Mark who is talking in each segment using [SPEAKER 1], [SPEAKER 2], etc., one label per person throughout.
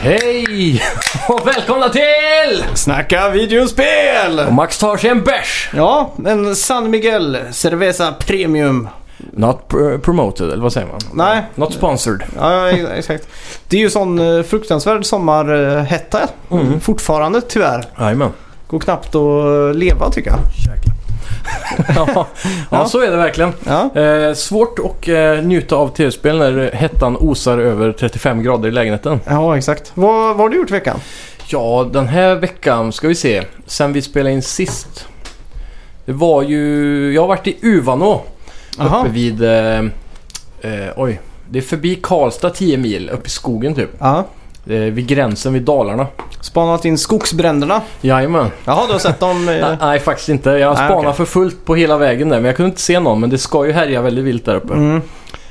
[SPEAKER 1] Hej och välkomna till
[SPEAKER 2] Snacka videospel!
[SPEAKER 1] Max tar sig en bärs.
[SPEAKER 2] Ja, en San Miguel Cerveza Premium.
[SPEAKER 1] Not pr- promoted, eller vad säger man?
[SPEAKER 2] Nej.
[SPEAKER 1] Not sponsored.
[SPEAKER 2] Ja, ex- exakt. Det är ju sån eh, fruktansvärd sommarhetta
[SPEAKER 1] Mm.
[SPEAKER 2] fortfarande tyvärr.
[SPEAKER 1] Jajamän.
[SPEAKER 2] Går knappt att eh, leva tycker jag.
[SPEAKER 1] ja, ja, så är det verkligen.
[SPEAKER 2] Ja,
[SPEAKER 1] Eh, svårt att eh, njuta av tv-spel när hettan osar över 35 grader i lägenheten.
[SPEAKER 2] ja exakt. Vad, vad har du gjort i veckan?
[SPEAKER 1] Ja, den här veckan ska vi se. Sen vi spelade in sist. Det var ju... Jag har varit i Uvanå. Uppe
[SPEAKER 2] Jaha.
[SPEAKER 1] vid... Eh, eh, oj. Det är förbi Karlstad 10 mil. Uppe i skogen typ.
[SPEAKER 2] Ja.
[SPEAKER 1] Eh, vid gränsen vid Dalarna.
[SPEAKER 2] Spanat in skogsbränderna.
[SPEAKER 1] Jajamän.
[SPEAKER 2] Jaha, du har sett dem? eh,
[SPEAKER 1] Nej, nej, faktiskt inte. Jag
[SPEAKER 2] Nej,
[SPEAKER 1] spanade
[SPEAKER 2] okej.
[SPEAKER 1] för fullt på hela vägen där. Men jag kunde inte se någon. Men det ska ju härja väldigt vilt där uppe.
[SPEAKER 2] Mm,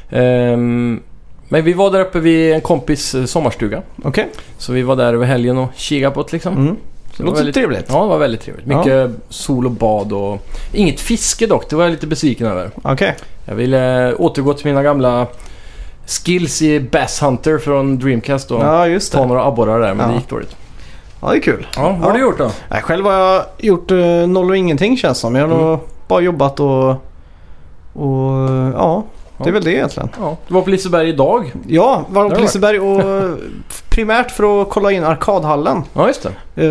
[SPEAKER 1] Ehm, men vi var där uppe vid en kompis eh, sommarstuga.
[SPEAKER 2] Okej.
[SPEAKER 1] Så vi var där över helgen och kikade på det liksom.
[SPEAKER 2] Mm.
[SPEAKER 1] Så
[SPEAKER 2] Det
[SPEAKER 1] det var
[SPEAKER 2] låter
[SPEAKER 1] väldigt...
[SPEAKER 2] trevligt.
[SPEAKER 1] Ja, det var väldigt trevligt.
[SPEAKER 2] Ja.
[SPEAKER 1] Mycket sol och bad och... Inget fiske dock, det var jag lite besviken över.
[SPEAKER 2] Okej.
[SPEAKER 1] Jag ville eh, återgå till mina gamla skills i Bass Hunter från Dreamcast och
[SPEAKER 2] Ja, just
[SPEAKER 1] ta
[SPEAKER 2] det.
[SPEAKER 1] några abborrar där, men
[SPEAKER 2] Ja.
[SPEAKER 1] det gick dåligt.
[SPEAKER 2] Ja, det är kul.
[SPEAKER 1] Ja, vad har
[SPEAKER 2] Ja.
[SPEAKER 1] du gjort då?
[SPEAKER 2] Nej, själv har jag gjort eh, noll och ingenting känns som. Jag har
[SPEAKER 1] Mm.
[SPEAKER 2] nog bara jobbat och... och eh, ja, det
[SPEAKER 1] Ja.
[SPEAKER 2] är väl det egentligen.
[SPEAKER 1] Ja, du var på Liseberg idag.
[SPEAKER 2] Ja, var
[SPEAKER 1] Där
[SPEAKER 2] på
[SPEAKER 1] var.
[SPEAKER 2] Liseberg och eh, primärt för att kolla in arkadhallen.
[SPEAKER 1] Ja, just det.
[SPEAKER 2] Eh,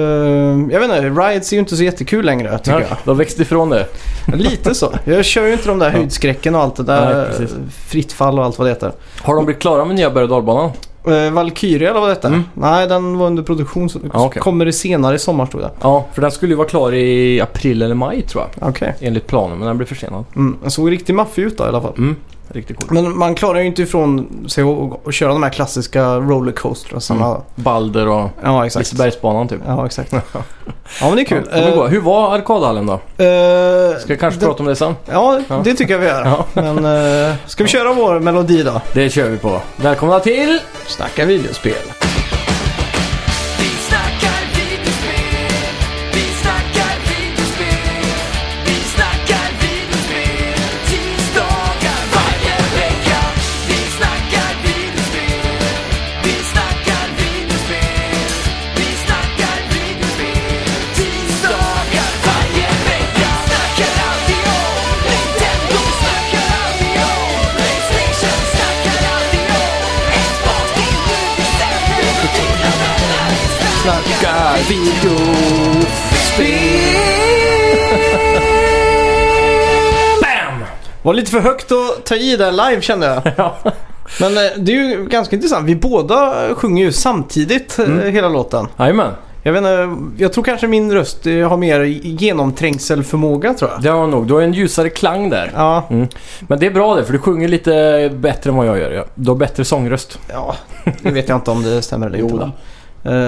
[SPEAKER 2] jag vet inte, rides är ju inte så jättekul längre tycker
[SPEAKER 1] Ja, Du har växt ifrån det.
[SPEAKER 2] jag. Lite så. Jag kör ju inte de där höjdskräcken och allt det
[SPEAKER 1] Nej,
[SPEAKER 2] där.
[SPEAKER 1] precis.
[SPEAKER 2] eh, fritt fall och allt vad det heter.
[SPEAKER 1] Har de blivit klara med nya berg och dalbanan?
[SPEAKER 2] Uh, Valkyria eller vad det heter?
[SPEAKER 1] Mm.
[SPEAKER 2] Nej, den var under produktion. Så
[SPEAKER 1] Ja, okej.
[SPEAKER 2] Kommer det senare i sommar stod det.
[SPEAKER 1] Ja, för den skulle ju vara klar i april eller maj tror jag.
[SPEAKER 2] Okej.
[SPEAKER 1] Enligt planen, men den blev försenad.
[SPEAKER 2] Mm. Den såg riktigt maffig ut då i alla fall.
[SPEAKER 1] Mm, riktigt coolt.
[SPEAKER 2] Men man klarar ju inte ifrån sig att att köra de här klassiska rollercoastrarna.
[SPEAKER 1] Balder och
[SPEAKER 2] Ja, exakt.
[SPEAKER 1] Lisebergsbanan typ.
[SPEAKER 2] Ja, exakt. Ja, men det är kul.
[SPEAKER 1] Ja, kommer gå. Hur var arkadhallen då?
[SPEAKER 2] Eh, eh,
[SPEAKER 1] Ska jag kanske
[SPEAKER 2] det-
[SPEAKER 1] prata om det sen?
[SPEAKER 2] Ja,
[SPEAKER 1] Ja.
[SPEAKER 2] det tycker jag vi gör.
[SPEAKER 1] Ja.
[SPEAKER 2] Men eh, ska vi köra vår melodi då?
[SPEAKER 1] Det kör vi på. Välkomna till...
[SPEAKER 2] Snacka videospel.
[SPEAKER 3] Vi snackar videospel, vi snackar videospel, vi snackar videospel, tisdagar varje vecka. Vi snackar videospel, vi snackar videospel, vi snackar videospel, tisdagar varje vecka. Snackar alltid om Nintendo, snackar alltid om Playstation, snackar alltid om Xbox, det är nu vi sänder och delar med alla.
[SPEAKER 2] Snacka
[SPEAKER 1] BAM!
[SPEAKER 2] Var lite för högt att ta i där live kände jag.
[SPEAKER 1] Ja.
[SPEAKER 2] Men eh, det är ju ganska intressant. Vi båda sjunger ju samtidigt eh,
[SPEAKER 1] Mm.
[SPEAKER 2] hela låten.
[SPEAKER 1] Jajamän,
[SPEAKER 2] Jag vet inte, jag tror kanske min röst eh, har mer genomträngselförmåga tror jag.
[SPEAKER 1] det var nog. Du har en ljusare klang där.
[SPEAKER 2] Ja,
[SPEAKER 1] Mm. Men det är bra det, för du sjunger lite bättre än vad jag gör. Ja. Du har bättre sångröst.
[SPEAKER 2] ja, det vet jag inte om det stämmer eller
[SPEAKER 1] Jo
[SPEAKER 2] inte.
[SPEAKER 1] då.
[SPEAKER 2] men,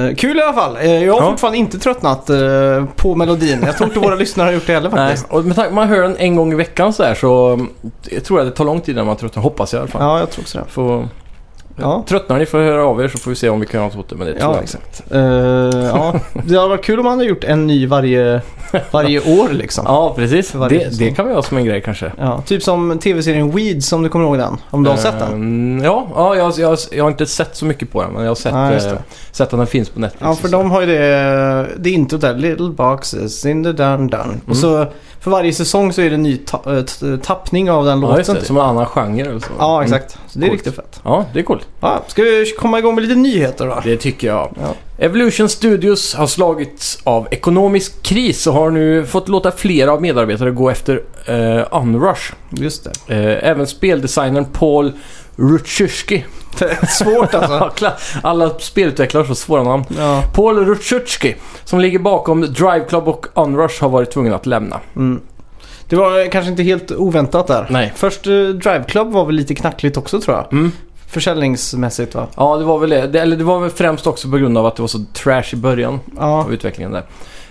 [SPEAKER 2] eh, kul i alla fall. Eh, jag har
[SPEAKER 1] Ja.
[SPEAKER 2] fortfarande inte tröttnat eh, på melodin. Jag tror inte våra lyssnare har gjort det heller
[SPEAKER 1] Nej,
[SPEAKER 2] faktiskt.
[SPEAKER 1] och med tanke man hör den en gång i veckan så här så mm, jag tror jag det tar lång tid innan man tröttnar. Hoppas jag i alla fall.
[SPEAKER 2] Ja, jag tror också det.
[SPEAKER 1] Får,
[SPEAKER 2] Ja.
[SPEAKER 1] Tröttnar ni får höra av er så får vi se om vi kan göra något åt det. Men det tror jag inte.
[SPEAKER 2] Eh, ja. Det hade varit kul om man hade gjort en ny varje, varje år liksom.
[SPEAKER 1] Ja, precis.
[SPEAKER 2] För varje
[SPEAKER 1] Det,
[SPEAKER 2] säsong.
[SPEAKER 1] det kan vi ha som en grej kanske.
[SPEAKER 2] Ja, typ som tv-serien Weeds om du kommer ihåg den. Om du har sett den.
[SPEAKER 1] Ehm, Ja, ja jag, jag, jag har inte sett så mycket på den men jag har sett,
[SPEAKER 2] Ja, just
[SPEAKER 1] eh,
[SPEAKER 2] det.
[SPEAKER 1] sett att den finns på Netflix.
[SPEAKER 2] Ja, för
[SPEAKER 1] och så.
[SPEAKER 2] de har ju det, det introt där. Little boxes in the dun dun.
[SPEAKER 1] Mm.
[SPEAKER 2] Och så för varje säsong så är det en ny ta- eh, t- tappning av den
[SPEAKER 1] ja, just
[SPEAKER 2] låten.
[SPEAKER 1] det.
[SPEAKER 2] typ.
[SPEAKER 1] Som en annan genre eller så.
[SPEAKER 2] Ja,
[SPEAKER 1] Mm.
[SPEAKER 2] exakt. Så det är
[SPEAKER 1] Coolt.
[SPEAKER 2] riktigt fett.
[SPEAKER 1] Ja, det är coolt.
[SPEAKER 2] Ja, ska vi komma igång med lite nyheter då?
[SPEAKER 1] Det tycker jag.
[SPEAKER 2] Ja.
[SPEAKER 1] Evolution Studios har slagits av ekonomisk kris och har nu fått låta flera av medarbetare gå efter eh, Unrush.
[SPEAKER 2] Just det.
[SPEAKER 1] Eh, även speldesignern Paul Rutschewski.
[SPEAKER 2] det är svårt alltså.
[SPEAKER 1] Ja, klar. Alla spelutvecklare har så svåra namn.
[SPEAKER 2] Ja.
[SPEAKER 1] Paul Rutschewski, som ligger bakom Drive Club och Unrush, har varit tvungen att lämna.
[SPEAKER 2] Mm. Det var eh, kanske inte helt oväntat där.
[SPEAKER 1] Nej.
[SPEAKER 2] Först eh, Drive Club var väl lite knackligt också tror jag.
[SPEAKER 1] Mm.
[SPEAKER 2] Försäljningsmässigt va?
[SPEAKER 1] Ja, det var väl det. det. Eller det var väl främst också på grund av att det var så trash i början
[SPEAKER 2] Ja,
[SPEAKER 1] av utvecklingen där.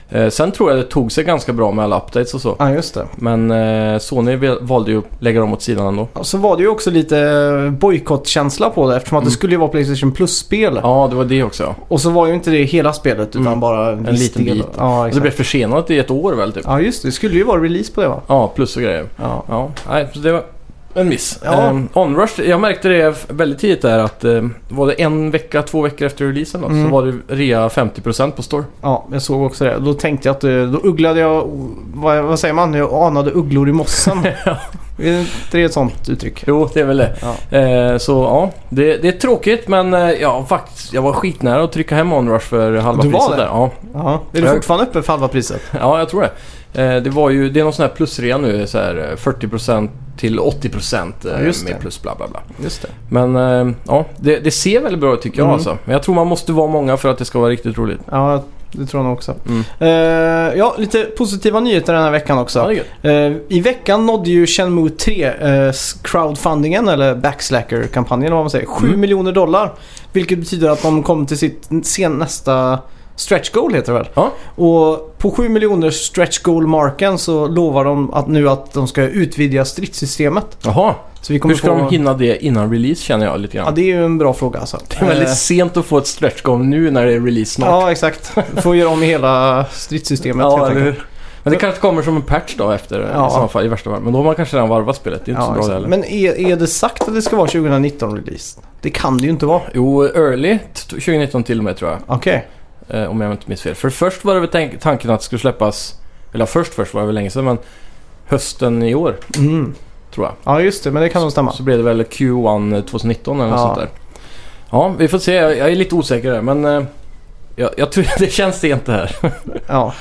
[SPEAKER 1] Eh, sen tror jag det tog sig ganska bra med alla updates och så.
[SPEAKER 2] ja just det.
[SPEAKER 1] Men eh, Sony vel- valde ju att lägga dem åt sidan ändå.
[SPEAKER 2] Och så var det ju också lite eh, bojkottkänsla på det eftersom att det skulle ju vara Playstation Plus-spel.
[SPEAKER 1] Mm. Ja, det var det också. ja.
[SPEAKER 2] Och så var ju inte det hela spelet utan
[SPEAKER 1] Mm.
[SPEAKER 2] bara en,
[SPEAKER 1] En
[SPEAKER 2] viss
[SPEAKER 1] liten
[SPEAKER 2] del.
[SPEAKER 1] bit.
[SPEAKER 2] Ja,
[SPEAKER 1] Och det
[SPEAKER 2] exakt.
[SPEAKER 1] blev försenat i ett år väl, typ.
[SPEAKER 2] ja, just det. Det skulle ju vara release på det va?
[SPEAKER 1] Ja, plus och grejer.
[SPEAKER 2] Ja.
[SPEAKER 1] Ja, nej, så det var... en miss.
[SPEAKER 2] Ja.
[SPEAKER 1] Ehm, Onrush, jag märkte det f- väldigt tidigt där att eh, var det en vecka, två veckor efter releasen då,
[SPEAKER 2] Mm.
[SPEAKER 1] så var det rea 50% på store.
[SPEAKER 2] Ja, jag såg också det. Då tänkte jag att eh, då ugglade jag, vad, vad säger man? Jag anade ugglor i mossen. Är det inte det ett sånt uttryck?
[SPEAKER 1] Jo, det är väl det.
[SPEAKER 2] Ja.
[SPEAKER 1] Eh, så ja, det, det är tråkigt men eh, ja, faktiskt, jag var skitnära att trycka hem Onrush för halva
[SPEAKER 2] Du var
[SPEAKER 1] priset
[SPEAKER 2] det?
[SPEAKER 1] där. Ja,
[SPEAKER 2] Ja. Är det
[SPEAKER 1] Jag-
[SPEAKER 2] fortfarande uppe för halva priset?
[SPEAKER 1] ja, jag tror det. Eh, det var ju, det är någon sån här plusrea nu, så här eh, 40% till 80% eh,
[SPEAKER 2] Ja, just det.
[SPEAKER 1] med plus bla bla bla.
[SPEAKER 2] Just det.
[SPEAKER 1] Men eh, ja, det, det ser väldigt bra ut tycker jag
[SPEAKER 2] Mm.
[SPEAKER 1] alltså. Men jag tror man måste vara många för att det ska vara riktigt roligt.
[SPEAKER 2] Ja, det tror jag nog också.
[SPEAKER 1] Mm.
[SPEAKER 2] Eh, ja, lite positiva nyheter den här veckan också.
[SPEAKER 1] Ja, det är gött.
[SPEAKER 2] Eh, I veckan nådde ju Shenmue 3 eh, s- crowdfundingen eller backslacker-kampanjen eller vad man säger. 7
[SPEAKER 1] Mm.
[SPEAKER 2] miljoner dollar. Vilket betyder att de kom till sitt sen, nästa stretch goal heter det väl?
[SPEAKER 1] Ja.
[SPEAKER 2] Och på 7 miljoner stretch goal-marken så lovar de att nu att de ska utvidga stridssystemet.
[SPEAKER 1] Jaha,
[SPEAKER 2] Så vi kommer
[SPEAKER 1] hur ska
[SPEAKER 2] få...
[SPEAKER 1] de hinna det innan release känner jag lite
[SPEAKER 2] Ja,
[SPEAKER 1] grann.
[SPEAKER 2] det är ju en bra fråga alltså.
[SPEAKER 1] Det är väldigt
[SPEAKER 2] Eh,
[SPEAKER 1] sent att få ett stretch goal nu när det är release snart.
[SPEAKER 2] Ja, exakt. Får göra om i hela stridssystemet helt enkelt.
[SPEAKER 1] hur? Men det kanske kommer som en patch då efter
[SPEAKER 2] Ja.
[SPEAKER 1] i, sådana fall, i värsta fall. Men då har man kanske redan varvat spelet. Det är inte så bra
[SPEAKER 2] exakt.
[SPEAKER 1] det heller.
[SPEAKER 2] Men är, är det sagt att det ska vara 2019-release? Det kan det ju inte vara.
[SPEAKER 1] Jo, early t- 2019 till och med tror jag.
[SPEAKER 2] Okej.
[SPEAKER 1] Eh, om jag inte minns fel. För först var det väl tänk- tanken att det skulle släppas, eller först först var det väl länge sedan men hösten i år
[SPEAKER 2] Mm.
[SPEAKER 1] tror jag.
[SPEAKER 2] Ja, just det. Men det kan nog stämma.
[SPEAKER 1] Så blev det väl Q1 2019 eller något
[SPEAKER 2] Ja.
[SPEAKER 1] sånt där. Ja, vi får se. Jag jag är lite osäker där men eh, jag, jag tror det känns sent det här.
[SPEAKER 2] Ja.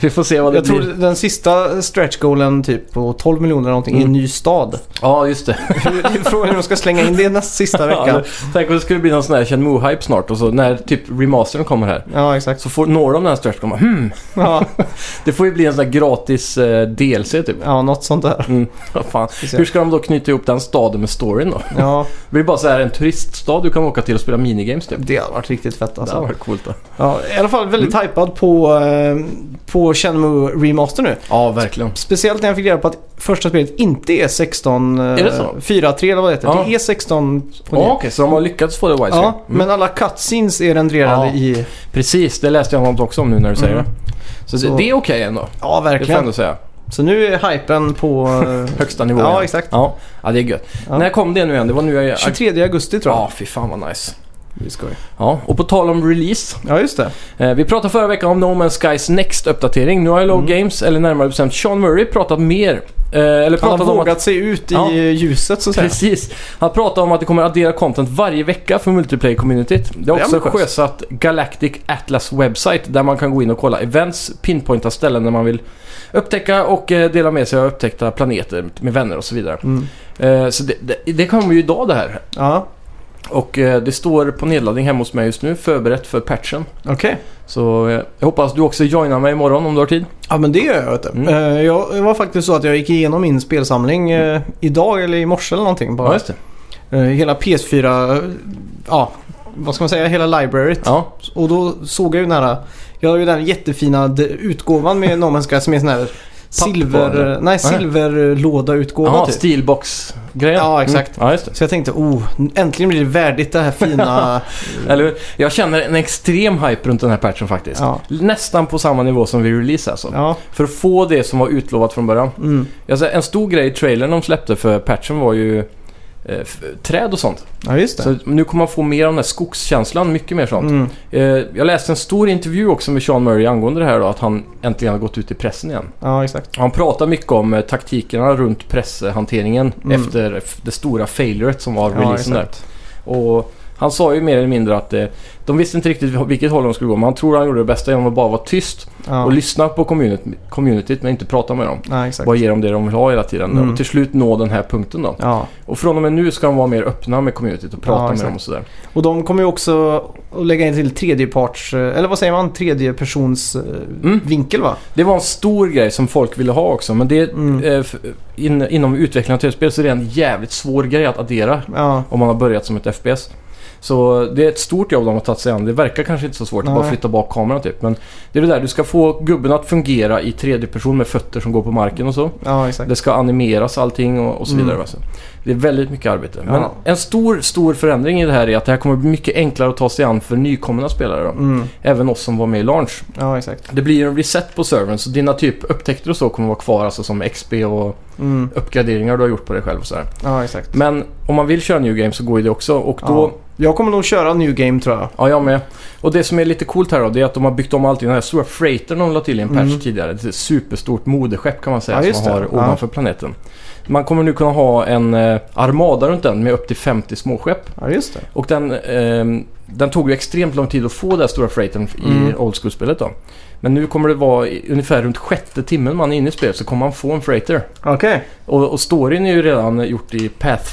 [SPEAKER 1] Vi får se vad det
[SPEAKER 2] Jag tror
[SPEAKER 1] blir.
[SPEAKER 2] den sista stretch goalen typ på 12 miljoner eller någonting i en
[SPEAKER 1] Mm.
[SPEAKER 2] ny stad.
[SPEAKER 1] Ja, just det.
[SPEAKER 2] Hur- det är Frågan är om de ska slänga in det näst sista
[SPEAKER 1] Ja,
[SPEAKER 2] veckan.
[SPEAKER 1] Tänk om det skulle bli någon sån här Chenmu hype snart och så när typ remastern kommer här.
[SPEAKER 2] Ja, exakt.
[SPEAKER 1] Så får, når de den här stretch goalen. Hmm,
[SPEAKER 2] Ja,
[SPEAKER 1] det får ju bli en sån här gratis eh, DLC typ.
[SPEAKER 2] ja något sånt där.
[SPEAKER 1] Mm, vad fan. Hur ska de då knyta ihop den staden med storyn då?
[SPEAKER 2] Ja,
[SPEAKER 1] Det blir bara så här en turiststad du kan åka till och spela minigames typ.
[SPEAKER 2] det har varit riktigt fett
[SPEAKER 1] Det hade
[SPEAKER 2] alltså.
[SPEAKER 1] varit Mm. coolt då.
[SPEAKER 2] Ja, I alla fall väldigt hypad på, eh, på Shenmue Remaster nu.
[SPEAKER 1] Ja, verkligen.
[SPEAKER 2] Speciellt när jag fick reda på att första spelet inte är 16...
[SPEAKER 1] Är det så?
[SPEAKER 2] 4-3 eller vad det heter.
[SPEAKER 1] Ja.
[SPEAKER 2] Det är 16 på
[SPEAKER 1] Ja, Okej, så de har lyckats få det widescreen.
[SPEAKER 2] Ja, men alla cutscenes är renderade
[SPEAKER 1] Ja.
[SPEAKER 2] i...
[SPEAKER 1] Precis, det läste jag något också om nu när du säger
[SPEAKER 2] Mm.
[SPEAKER 1] det. Så,
[SPEAKER 2] Så-
[SPEAKER 1] det det är okej ändå.
[SPEAKER 2] Ja,
[SPEAKER 1] Det får jag ändå
[SPEAKER 2] verkligen.
[SPEAKER 1] säga.
[SPEAKER 2] Så nu är hypen på... eh,
[SPEAKER 1] Högsta nivån.
[SPEAKER 2] Ja, exakt.
[SPEAKER 1] Ja, ja det är gött.
[SPEAKER 2] Ja.
[SPEAKER 1] När kom det nu igen? Det var nu jag...
[SPEAKER 2] 23 augusti tror jag.
[SPEAKER 1] Ja, fy fan vad nice.
[SPEAKER 2] Det är skoj.
[SPEAKER 1] Ja, och på tal om release.
[SPEAKER 2] Ja, just det.
[SPEAKER 1] Eh, vi pratade förra veckan om No Man's Skys Next-uppdatering. Nu har Low
[SPEAKER 2] Mm.
[SPEAKER 1] Games, eller närmare bestämt Sean Murray, pratat mer. Eh, eller
[SPEAKER 2] Han
[SPEAKER 1] pratat
[SPEAKER 2] har
[SPEAKER 1] om att...
[SPEAKER 2] vågat sig ut i
[SPEAKER 1] Ja.
[SPEAKER 2] ljuset så att säga.
[SPEAKER 1] Precis. Han pratar om att det kommer addera content varje vecka för multiplayer-communityt. Det har
[SPEAKER 2] Det är
[SPEAKER 1] också
[SPEAKER 2] ambitiöst.
[SPEAKER 1] sjösatt Galactic Atlas website där man kan gå in och kolla events, pinpointa ställen där man vill upptäcka och eh, dela med sig av upptäckta planeter med vänner och så vidare.
[SPEAKER 2] Mm.
[SPEAKER 1] Eh, Så det, det, det kommer ju idag det här.
[SPEAKER 2] Ja,
[SPEAKER 1] Och eh, det står på nedladdning hemma hos mig just nu, förberett för patchen.
[SPEAKER 2] okej.
[SPEAKER 1] Så eh, jag hoppas du också joinar mig imorgon om du har tid.
[SPEAKER 2] Ja, men det gör jag vet du.
[SPEAKER 1] Mm.
[SPEAKER 2] Eh, Jag det var faktiskt så att jag gick igenom min spelsamling eh, idag eller i morse eller någonting bara.
[SPEAKER 1] Mm. det.
[SPEAKER 2] Eh, Hela PS4... eh, Ja, vad ska man säga? Hela libraryt.
[SPEAKER 1] Ja,
[SPEAKER 2] Och då såg jag ju den här, jag har ju den här jättefina d- utgåvan med No Man's Sky som är sån här silver,
[SPEAKER 1] eller?
[SPEAKER 2] nej silverlåda utgåva
[SPEAKER 1] ja
[SPEAKER 2] typ.
[SPEAKER 1] steelbox-grejen.
[SPEAKER 2] Ja, exakt.
[SPEAKER 1] Mm. Ja, just det.
[SPEAKER 2] Så jag tänkte, oh, äntligen blir det värdigt det här fina.
[SPEAKER 1] Eller hur? Jag känner en extrem hype runt den här patchen faktiskt.
[SPEAKER 2] ja.
[SPEAKER 1] Nästan på samma nivå som vid release alltså.
[SPEAKER 2] ja.
[SPEAKER 1] För att få det som var utlovat från början.
[SPEAKER 2] Mm.
[SPEAKER 1] Alltså, en stor grej i trailern de släppte för patchen var ju eh, f- träd och sånt.
[SPEAKER 2] ja, just det.
[SPEAKER 1] Så nu kommer man få mer av den här skogskänslan, mycket mer sånt.
[SPEAKER 2] Mm.
[SPEAKER 1] Eh, jag läste en stor intervju också med Sean Murray angående det här då, att han äntligen har gått ut i pressen igen.
[SPEAKER 2] Ja, exakt.
[SPEAKER 1] Han pratar mycket om eh, taktikerna runt presshanteringen
[SPEAKER 2] Mm.
[SPEAKER 1] efter f- det stora failuret som var
[SPEAKER 2] Ja,
[SPEAKER 1] releasen där.
[SPEAKER 2] exakt.
[SPEAKER 1] Och han sa ju mer eller mindre att eh, de visste inte riktigt vilket håll de skulle gå. Men han tror han gjorde det bästa genom att bara vara tyst
[SPEAKER 2] Ja.
[SPEAKER 1] och lyssna på community, communityt men inte prata med dem.
[SPEAKER 2] Ja, exakt.
[SPEAKER 1] Bara ge dem det de vill ha hela tiden.
[SPEAKER 2] Mm.
[SPEAKER 1] Och till slut nå den här punkten då.
[SPEAKER 2] Ja.
[SPEAKER 1] Och från och med nu ska de vara mer öppna med communityt och prata
[SPEAKER 2] Ja,
[SPEAKER 1] med
[SPEAKER 2] exakt.
[SPEAKER 1] dem och sådär.
[SPEAKER 2] Och de kommer ju också att lägga in till tredjeparts, eller vad säger man, tredjepersons eh,
[SPEAKER 1] Mm.
[SPEAKER 2] vinkel va?
[SPEAKER 1] Det var en stor grej som folk ville ha också. Men det,
[SPEAKER 2] Mm.
[SPEAKER 1] eh, f- in, inom utvecklingen av tv-spel så är det en jävligt svår grej att addera.
[SPEAKER 2] Ja,
[SPEAKER 1] Om man har börjat som ett FPS. Så det är ett stort jobb de har tagit sig an. Det verkar kanske inte så svårt att bara
[SPEAKER 2] Nej.
[SPEAKER 1] flytta bak kameran typ. Men det är det där, du ska få gubben att fungera i 3D-person med fötter som går på marken och så.
[SPEAKER 2] Ja, exakt.
[SPEAKER 1] Det ska animeras allting och, och så
[SPEAKER 2] Mm.
[SPEAKER 1] vidare. Alltså. Det är väldigt mycket arbete.
[SPEAKER 2] Ja.
[SPEAKER 1] Men en stor, stor förändring i det här är att det här kommer bli mycket enklare att ta sig an för nykomna spelare. Då.
[SPEAKER 2] Mm.
[SPEAKER 1] Även oss som var med i launch.
[SPEAKER 2] Ja, exakt.
[SPEAKER 1] Det blir en reset på servern så dina typ upptäckter och så kommer vara kvar. Alltså som XP och
[SPEAKER 2] Mm.
[SPEAKER 1] uppgraderingar du har gjort på dig själv och så här.
[SPEAKER 2] Ja, exakt.
[SPEAKER 1] Men om man vill köra New Game så går ju det också. Och då...
[SPEAKER 2] Ja. Jag kommer nog köra New Game tror jag.
[SPEAKER 1] Ja, jag med. Och det som är lite coolt här då, det är att de har byggt om allting. Den här stora freightern de la till i en patch
[SPEAKER 2] Mm.
[SPEAKER 1] tidigare. Det är ett superstort moderskepp kan man säga
[SPEAKER 2] Ja, just
[SPEAKER 1] som man har
[SPEAKER 2] det. Ja.
[SPEAKER 1] ovanför planeten. Man kommer nu kunna ha en eh, armada runt den med upp till 50 småskepp.
[SPEAKER 2] Ja, just det.
[SPEAKER 1] Och den, ehm, den tog ju extremt lång tid att få den här stora freightern i
[SPEAKER 2] Mm.
[SPEAKER 1] Old School-spelet då. Men nu kommer det vara i, ungefär runt sjätte timmen man är inne i spelet så kommer man få en freighter.
[SPEAKER 2] Okej.
[SPEAKER 1] Och, och storyn är ju redan gjort i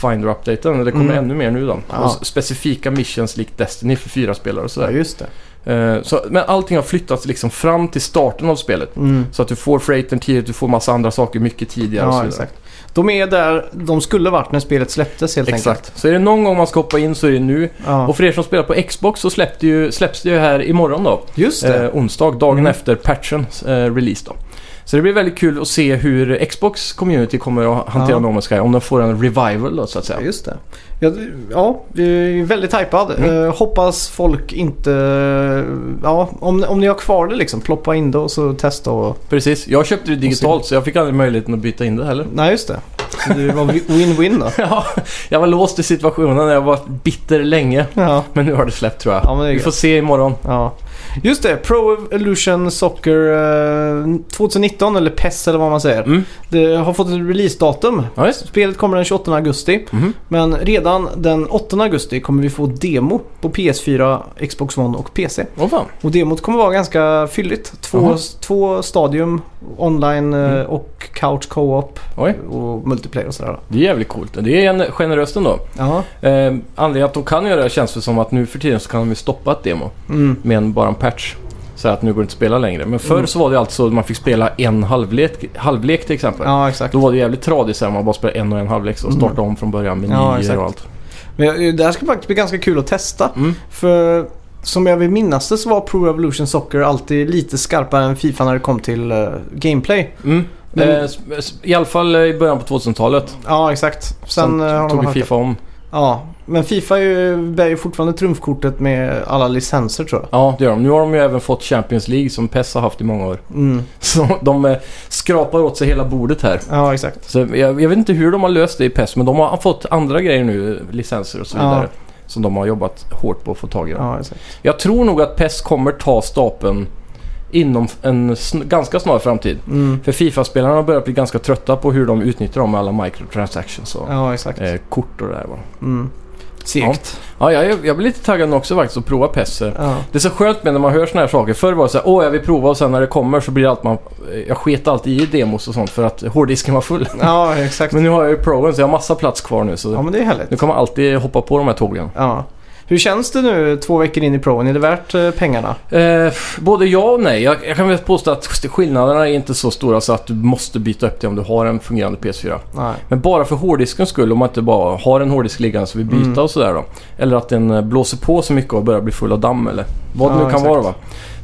[SPEAKER 1] Pathfinder-updaten och det kommer
[SPEAKER 2] Mm.
[SPEAKER 1] ännu mer nu då.
[SPEAKER 2] Ja.
[SPEAKER 1] Och s- specifika missions likt Destiny för fyra spelare och
[SPEAKER 2] Ja,
[SPEAKER 1] sådär.
[SPEAKER 2] just det.
[SPEAKER 1] Eh, så, men allting har flyttats liksom fram till starten av spelet.
[SPEAKER 2] Mm.
[SPEAKER 1] Så att du får freighten tidigt, du får massa andra saker mycket tidigare och så
[SPEAKER 2] Ja,
[SPEAKER 1] vidare.
[SPEAKER 2] exakt. De är där de skulle varit när spelet släpptes helt enkelt.
[SPEAKER 1] Exakt. Så är det någon gång man ska hoppa in så är det nu.
[SPEAKER 2] Ja.
[SPEAKER 1] Och för er som spelar på Xbox så släpps det ju, släpps det ju här imorgon då.
[SPEAKER 2] Just det.
[SPEAKER 1] Eh, onsdag, dagen
[SPEAKER 2] Mm.
[SPEAKER 1] efter patchen eh, release då. Så det blir väldigt kul att se hur Xbox community kommer att hantera
[SPEAKER 2] Ja.
[SPEAKER 1] No Man's Sky. Om den får en revival då så att säga.
[SPEAKER 2] Ja, just det. Ja, du- ja, vi är väldigt hypad.
[SPEAKER 1] Mm.
[SPEAKER 2] Eh, hoppas folk inte... eh, Ja, om, om ni har kvar det liksom, ploppa in det och så testa och...
[SPEAKER 1] Precis, jag köpte det digitalt så jag fick aldrig möjligheten att byta in det heller.
[SPEAKER 2] Nej, just det. Så det var vi- win-win då.
[SPEAKER 1] Ja, jag var låst i situationen, jag var bitter länge.
[SPEAKER 2] Ja.
[SPEAKER 1] Men nu har det släppt tror jag.
[SPEAKER 2] Ja, men det är
[SPEAKER 1] Vi
[SPEAKER 2] gött.
[SPEAKER 1] får se imorgon.
[SPEAKER 2] Ja. Just det, Pro Evolution Soccer eh, 2019 eller PES eller vad man säger.
[SPEAKER 1] Mm.
[SPEAKER 2] Det har fått ett releasedatum.
[SPEAKER 1] Ja, visst.
[SPEAKER 2] Spelet kommer den 28 augusti.
[SPEAKER 1] Mhm.
[SPEAKER 2] Men redan den 8 augusti kommer vi få demo på PS4, Xbox One och PC.
[SPEAKER 1] Åh fan.
[SPEAKER 2] Och demot kommer vara ganska fylligt. Två,
[SPEAKER 1] Jaha.
[SPEAKER 2] två stadium, online eh,
[SPEAKER 1] Mm.
[SPEAKER 2] och couch co-op
[SPEAKER 1] Oj,
[SPEAKER 2] och multiplayer och sådär.
[SPEAKER 1] det är jävligt coolt. Det är en generöst ändå.
[SPEAKER 2] Ja.
[SPEAKER 1] Eh, anledningen att de kan göra det känns det som att nu för tiden så kan de ju stoppa ett demo
[SPEAKER 2] Mm.
[SPEAKER 1] med en, bara en patch. Så att nu går det inte att spela längre. Men förr
[SPEAKER 2] Mm.
[SPEAKER 1] så var det alltså att man fick spela en halvlek, halvlek till exempel.
[SPEAKER 2] ja, exakt.
[SPEAKER 1] Då var det jävligt tradigt sen man bara spelade en och en halvlek och startade om från början med
[SPEAKER 2] Ja,
[SPEAKER 1] menyer
[SPEAKER 2] exakt.
[SPEAKER 1] och allt.
[SPEAKER 2] Men jag- det här ska faktiskt bli ganska kul att testa.
[SPEAKER 1] Mm.
[SPEAKER 2] För som jag vill minnas det så var Pro Evolution Soccer alltid lite skarpare än Fifa när det kom till eh, gameplay.
[SPEAKER 1] Mm.
[SPEAKER 2] Men-
[SPEAKER 1] Eh, s- s- I alla fall eh, i början på 2000-talet.
[SPEAKER 2] Ja, exakt. Sen
[SPEAKER 1] Sen
[SPEAKER 2] eh, har de
[SPEAKER 1] tog ju
[SPEAKER 2] hackat.
[SPEAKER 1] Fifa om.
[SPEAKER 2] Ja, men Fifa är ju, bär ju fortfarande trumfkortet med alla licenser tror jag.
[SPEAKER 1] Ja, det gör de. Nu har de ju även fått Champions League som PES har haft i många år.
[SPEAKER 2] Mm.
[SPEAKER 1] Så de eh, skrapar åt sig hela bordet här.
[SPEAKER 2] Ja, exakt.
[SPEAKER 1] Så jag, jag vet inte hur de har löst det i PES, men de har fått andra grejer nu, licenser och så
[SPEAKER 2] Ja.
[SPEAKER 1] vidare. Som de har jobbat hårt på att få tag i.
[SPEAKER 2] Ja, exakt.
[SPEAKER 1] Jag tror nog att PES kommer ta stapeln inom en sn- ganska snar framtid.
[SPEAKER 2] Mm.
[SPEAKER 1] För Fifa-spelarna har börjat bli ganska trötta på hur de utnyttjar dem med alla microtransactions och
[SPEAKER 2] Ja, exakt.
[SPEAKER 1] eh, kort och det där. va.
[SPEAKER 2] Mm. Segt.
[SPEAKER 1] Ja, jag, jag blir lite taggad nu också faktiskt att prova PES. eh.
[SPEAKER 2] Ja.
[SPEAKER 1] Det är så skönt med när man hör såna här saker. Förr var det så här, åh jag vill prova och sen när det kommer så blir allt man... Jag sket alltid i demos och sånt för att hårddisken var full.
[SPEAKER 2] ja, exakt.
[SPEAKER 1] Men nu har jag ju proven så jag har massa plats kvar nu så
[SPEAKER 2] Ja, men det är härligt.
[SPEAKER 1] nu kommer jag alltid hoppa på de här tågen.
[SPEAKER 2] Ja. Hur känns det nu två veckor in i proven? Är det värt eh, pengarna?
[SPEAKER 1] Eh, både ja och nej. Jag, jag kan väl påstå att skillnaderna är inte så stora så att du måste byta upp det om du har en fungerande PS4.
[SPEAKER 2] Nej.
[SPEAKER 1] Men bara för hårddiskens skull, om man inte bara har en hårddisk liggande så vill byta
[SPEAKER 2] Mm.
[SPEAKER 1] och sådär då. Eller att den eh, blåser på så mycket och börjar bli full av damm eller vad det
[SPEAKER 2] Ja,
[SPEAKER 1] nu kan
[SPEAKER 2] exakt.
[SPEAKER 1] vara va.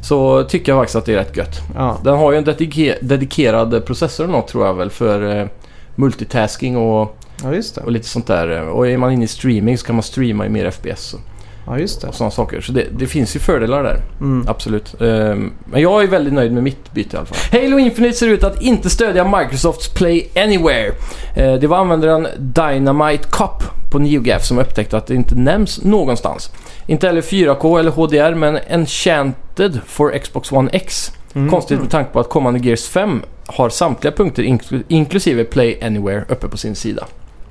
[SPEAKER 1] Så tycker jag faktiskt att det är rätt gött.
[SPEAKER 2] Ja.
[SPEAKER 1] Den har ju en dedike- dedikerad processor eller något tror jag väl för eh, multitasking och,
[SPEAKER 2] ja, just det.
[SPEAKER 1] och lite sånt där. eh. Och är man inne i streaming så kan man streama i mer FPS och,
[SPEAKER 2] Ja, just det.
[SPEAKER 1] och sådana saker. Så det, det finns ju fördelar där,
[SPEAKER 2] Mm.
[SPEAKER 1] absolut. Ehm, men jag är väldigt nöjd med mitt byte i alla fall. Halo Infinite ser ut att inte stödja Microsofts Play Anywhere. Eh, det var användaren Dynamite Cup på NeoGaf som upptäckte att det inte nämns någonstans. Inte heller 4K eller HDR men Enchanted for Xbox One X.
[SPEAKER 2] Mm.
[SPEAKER 1] Konstigt med tanke på att kommande Gears 5 har samtliga punkter inkl- inklusive Play Anywhere uppe på sin sida.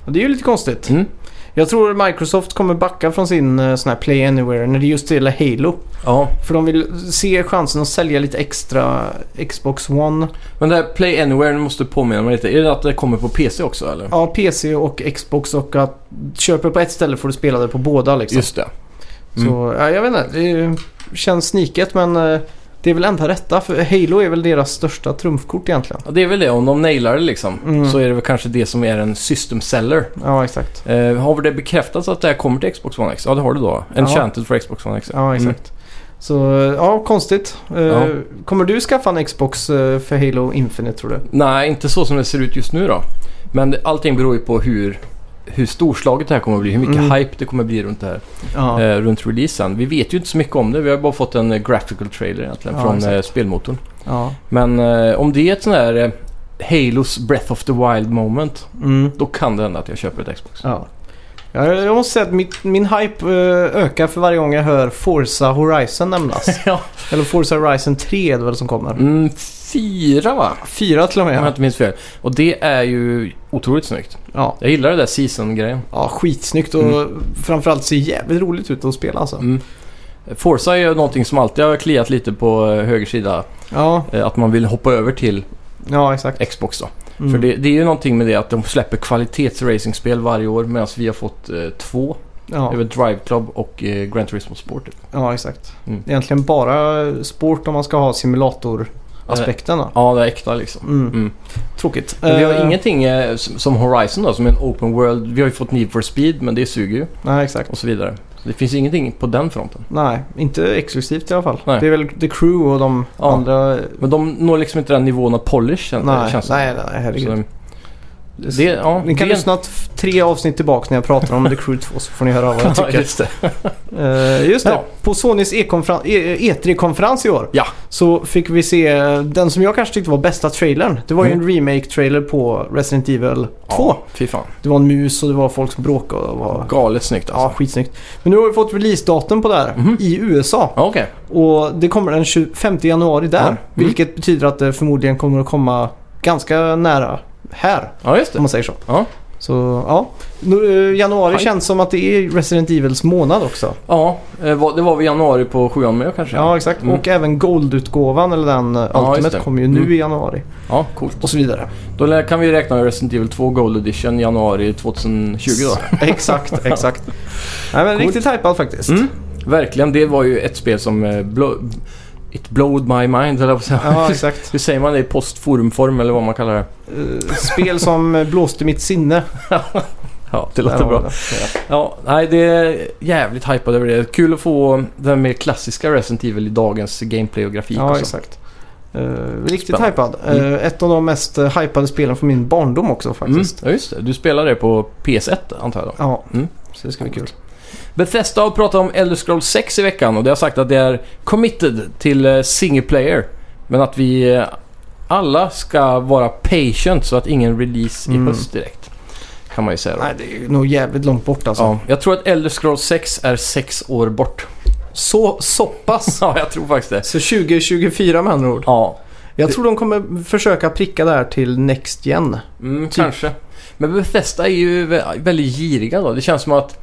[SPEAKER 2] Det är ju lite konstigt.
[SPEAKER 1] Mm.
[SPEAKER 2] Jag tror Microsoft kommer backa från sin eh, sån här Play Anywhere när det just gäller Halo.
[SPEAKER 1] Ja,
[SPEAKER 2] För de vill se chansen att sälja lite extra Xbox One.
[SPEAKER 1] men det här Play Anywhere, nu måste du påminna mig lite. Är det att det kommer på PC också eller?
[SPEAKER 2] Ja, PC och Xbox och att köper på ett ställe får du spela det på båda liksom.
[SPEAKER 1] Just det.
[SPEAKER 2] Så, ja, jag vet inte. Det är- känns sniket men eh, Det är väl enda rätta för Halo är väl deras största trumfkort egentligen.
[SPEAKER 1] Ja, det är väl det, om de nailar det liksom.
[SPEAKER 2] Mm.
[SPEAKER 1] Så är det väl kanske det som är en system seller.
[SPEAKER 2] Ja exakt.
[SPEAKER 1] Eh, har det bekräftats att det här kommer till Xbox One X? Ja, det har du då. Enchanted för Xbox One X.
[SPEAKER 2] Ja exakt. Så ja, konstigt. Eh,
[SPEAKER 1] Mm. Ja.
[SPEAKER 2] Kommer du skaffa en Xbox eh, för Halo Infinite tror du?
[SPEAKER 1] Nej, inte så som det ser ut just nu då. Men allting beror ju på hur, hur storslaget det här kommer att bli. Hur mycket
[SPEAKER 2] Mm.
[SPEAKER 1] hype det kommer att bli runt det här.
[SPEAKER 2] Ja.
[SPEAKER 1] Eh, runt releasen. Vi vet ju inte så mycket om det. Vi har ju bara fått en eh, graphical trailer egentligen
[SPEAKER 2] Ja,
[SPEAKER 1] från
[SPEAKER 2] exakt.
[SPEAKER 1] eh, spelmotorn.
[SPEAKER 2] ja.
[SPEAKER 1] Men eh, om det är ett sån här eh, Halos Breath of the Wild moment.
[SPEAKER 2] Mm.
[SPEAKER 1] Då kan det hända att jag köper ett Xbox.
[SPEAKER 2] Ja. Jag, jag måste säga att mitt, min hype eh, ökar för varje gång jag hör Forza Horizon nämnas.
[SPEAKER 1] Ja.
[SPEAKER 2] Eller Forza Horizon 3 är det väl som kommer.
[SPEAKER 1] Mm, fyra va?
[SPEAKER 2] Fyra till och
[SPEAKER 1] Om jag
[SPEAKER 2] med.
[SPEAKER 1] inte minns fel. Och det är ju otroligt snyggt.
[SPEAKER 2] Ja,
[SPEAKER 1] Jag gillar det där season-grejen.
[SPEAKER 2] ja skitsnyggt och framförallt ser jävligt roligt ut att spela alltså.
[SPEAKER 1] Mm. Forza är ju någonting som alltid har kliat lite på eh, höger sida.
[SPEAKER 2] Ja,
[SPEAKER 1] Eh, Att man vill hoppa över till
[SPEAKER 2] ja exakt.
[SPEAKER 1] Xbox då.
[SPEAKER 2] Mm.
[SPEAKER 1] För det, det är ju någonting med det att de släpper kvalitetsracingspel varje år medan vi har fått eh, två.
[SPEAKER 2] ja,
[SPEAKER 1] Över Drive Club och eh, Gran Turismo Sport. typ.
[SPEAKER 2] ja, exakt.
[SPEAKER 1] Mm.
[SPEAKER 2] Egentligen bara sport om man ska ha simulatoraspekten. då.
[SPEAKER 1] Ja, det är äkta liksom.
[SPEAKER 2] Mm.
[SPEAKER 1] Eh. Mm.
[SPEAKER 2] Tråkigt.
[SPEAKER 1] Men vi har
[SPEAKER 2] Eh,
[SPEAKER 1] ingenting eh, s- som Horizon då, som är en open world. Vi har ju fått Need for Speed, men det suger ju.
[SPEAKER 2] Nej, exakt.
[SPEAKER 1] Och så vidare. Så det finns ingenting på den fronten.
[SPEAKER 2] Nej, inte exklusivt i alla fall.
[SPEAKER 1] Nej.
[SPEAKER 2] Det är väl The Crew och de
[SPEAKER 1] Ja.
[SPEAKER 2] andra...
[SPEAKER 1] Men de når liksom inte den nivån av polish, kän-
[SPEAKER 2] Nej,
[SPEAKER 1] känns det
[SPEAKER 2] nej, nej, herregud.
[SPEAKER 1] Så, det, ja,
[SPEAKER 2] Ni kan
[SPEAKER 1] det,
[SPEAKER 2] lyssna t- tre avsnitt tillbaka när jag pratar om The Crew 2 så får ni höra vad jag
[SPEAKER 1] Ja,
[SPEAKER 2] tycker.
[SPEAKER 1] just det.
[SPEAKER 2] Eh, just det,
[SPEAKER 1] Ja.
[SPEAKER 2] på Sonys e-konferen- E- E3-konferens i år
[SPEAKER 1] Ja.
[SPEAKER 2] så fick vi se den som jag kanske tyckte var bästa trailern. Det var ju en remake-trailer på Resident Evil 2.
[SPEAKER 1] Mm. Ja, fy fan.
[SPEAKER 2] Det var en mus och det var folk som bråkade och var...
[SPEAKER 1] Galet snyggt
[SPEAKER 2] Ja,
[SPEAKER 1] alltså.
[SPEAKER 2] skitsnyggt. Men nu har vi fått releasedatum på det här
[SPEAKER 1] Mhm.
[SPEAKER 2] i USA.
[SPEAKER 1] Ja. Okej.
[SPEAKER 2] Och det kommer den 25 januari där.
[SPEAKER 1] Ja. Mm.
[SPEAKER 2] Vilket betyder att det förmodligen kommer att komma ganska nära här.
[SPEAKER 1] Ja, just
[SPEAKER 2] Om
[SPEAKER 1] det.
[SPEAKER 2] man säger så.
[SPEAKER 1] Ja.
[SPEAKER 2] Så ja, nu, eh, januari
[SPEAKER 1] Hype.
[SPEAKER 2] känns som att det är Resident Evils månad också.
[SPEAKER 1] Ja, eh, vad- det var vi i januari på sjuan med kanske.
[SPEAKER 2] Ja, exakt.
[SPEAKER 1] Mm.
[SPEAKER 2] Och även Gold-utgåvan eller den eh,
[SPEAKER 1] Ja, just
[SPEAKER 2] Ultimate
[SPEAKER 1] det.
[SPEAKER 2] kommer ju nu
[SPEAKER 1] Mm.
[SPEAKER 2] i januari.
[SPEAKER 1] ja coolt.
[SPEAKER 2] Och så vidare.
[SPEAKER 1] Då lär- kan vi räkna med Resident Evil 2 Gold Edition januari 2020 då.
[SPEAKER 2] exakt, exakt. Nej, men
[SPEAKER 1] Coolt.
[SPEAKER 2] riktigt hypad faktiskt.
[SPEAKER 1] Mm. Verkligen, det var ju ett spel som... eh, Blow, it blowed my mind, eller vad
[SPEAKER 2] Ja,
[SPEAKER 1] säger
[SPEAKER 2] exakt.
[SPEAKER 1] Hur säger man det? I postforumform eller vad man kallar det?
[SPEAKER 2] Eh, Spel som eh, blåste mitt sinne.
[SPEAKER 1] Ja, det
[SPEAKER 2] Där
[SPEAKER 1] låter
[SPEAKER 2] har
[SPEAKER 1] bra.
[SPEAKER 2] vi det.
[SPEAKER 1] Ja, nej det är jävligt hypad över det. Kul att få den mer klassiska Resident Evil i dagens gameplay och grafik och
[SPEAKER 2] Ja,
[SPEAKER 1] så.
[SPEAKER 2] exakt. Eh, riktigt
[SPEAKER 1] Spännande.
[SPEAKER 2] hypad. Eh, ett av de mest eh, hypade spelen från min barndom också
[SPEAKER 1] Mm,
[SPEAKER 2] faktiskt.
[SPEAKER 1] ja, just det. Du spelar det på PS1 antar jag då.
[SPEAKER 2] Ja,
[SPEAKER 1] Mm.
[SPEAKER 2] så det ska bli kul.
[SPEAKER 1] Bethesda har pratat om Elder Scrolls 6 i veckan och det har sagt att det är committed till eh, single player. Men att vi eh, alla ska vara patient så att ingen release i
[SPEAKER 2] Mm.
[SPEAKER 1] höst direkt. Kan man ju säga då.
[SPEAKER 2] Nej, det är nog jävligt långt bort alltså.
[SPEAKER 1] Ja, jag tror att Elder Scrolls 6 är sex år bort.
[SPEAKER 2] Så, så pass.
[SPEAKER 1] Ja, jag tror faktiskt det.
[SPEAKER 2] Så 2024 med andra ord.
[SPEAKER 1] Ja,
[SPEAKER 2] Jag tror de kommer försöka pricka det här till Next Gen.
[SPEAKER 1] Mm,
[SPEAKER 2] Typ.
[SPEAKER 1] kanske. Men Bethesda är ju vä- väldigt giriga då. Det känns som att...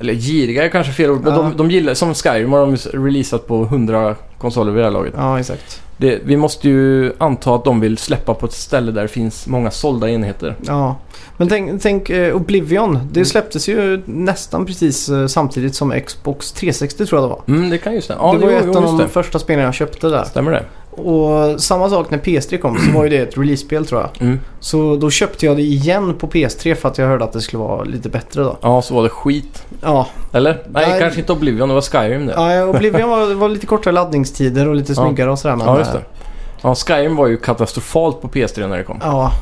[SPEAKER 1] Eller giriga är kanske fel ord, men
[SPEAKER 2] Ja.
[SPEAKER 1] de, de gillar... Som Skyrim har de s- releasat på 100 konsoler vid det här laget.
[SPEAKER 2] Ja, exakt.
[SPEAKER 1] Det, vi måste ju anta att de vill släppa på ett ställe där det finns många sålda enheter.
[SPEAKER 2] Ja. Men tänk, tänk eh, Oblivion.
[SPEAKER 1] Mm.
[SPEAKER 2] Det släpptes ju nästan precis eh, samtidigt som Xbox 360 tror jag det var.
[SPEAKER 1] Mm, det kan ju stämma. Ja,
[SPEAKER 2] det var ju
[SPEAKER 1] jo,
[SPEAKER 2] ett
[SPEAKER 1] jo,
[SPEAKER 2] av
[SPEAKER 1] just
[SPEAKER 2] de
[SPEAKER 1] det.
[SPEAKER 2] första spelen jag köpte där.
[SPEAKER 1] Stämmer det?
[SPEAKER 2] Och samma sak när PS3 kom så var ju det ett release-spel tror jag.
[SPEAKER 1] Mm.
[SPEAKER 2] Så då köpte jag det igen på PS3 för att jag hörde att det skulle vara lite bättre då.
[SPEAKER 1] Ja, så var det skit.
[SPEAKER 2] Ja,
[SPEAKER 1] Eller? Nej,
[SPEAKER 2] Nej.
[SPEAKER 1] kanske inte Oblivion. Det var Skyrim det. Ja,
[SPEAKER 2] ja Oblivion var, det var lite kortare laddningstider och lite
[SPEAKER 1] Ja.
[SPEAKER 2] snyggare och sådär. men,
[SPEAKER 1] just
[SPEAKER 2] eh,
[SPEAKER 1] det. Ja, Skyrim var ju katastrofalt på PS3 när det kom.
[SPEAKER 2] Ja,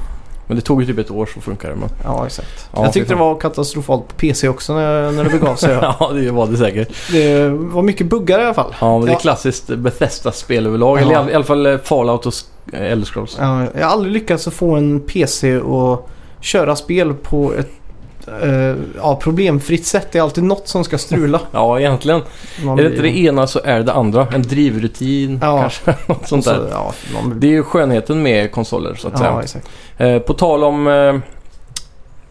[SPEAKER 1] Men det tog ju typ ett år så funkar det. Men...
[SPEAKER 2] Ja, exakt.
[SPEAKER 1] Ja, typ.
[SPEAKER 2] jag
[SPEAKER 1] fy
[SPEAKER 2] tyckte det
[SPEAKER 1] fan.
[SPEAKER 2] var katastrofalt på PC också när, när det begav sig. ja.
[SPEAKER 1] ja, det var det säkert.
[SPEAKER 2] det var mycket buggar i alla fall.
[SPEAKER 1] Ja, men det
[SPEAKER 2] Ja.
[SPEAKER 1] är klassiskt Bethesda-spel överlag.
[SPEAKER 2] Ja.
[SPEAKER 1] Eller i all- i alla fall eh, Fallout och Sk- eh, Elder Scrolls.
[SPEAKER 2] Ja, jag har aldrig lyckats att få en PC att köra spel på ett eh, ja, problemfritt sätt. Det är alltid något som ska strula.
[SPEAKER 1] Ja, egentligen.
[SPEAKER 2] Man
[SPEAKER 1] Är det
[SPEAKER 2] blir-
[SPEAKER 1] inte det E ena så är det det andra. En drivrutin
[SPEAKER 2] Ja. Alltså,
[SPEAKER 1] kanske. Något sånt
[SPEAKER 2] så-
[SPEAKER 1] där.
[SPEAKER 2] Ja, man blir...
[SPEAKER 1] Det är E ju skönheten med konsoler så att
[SPEAKER 2] ja,
[SPEAKER 1] säga.
[SPEAKER 2] exakt.
[SPEAKER 1] Eh, på tal om eh,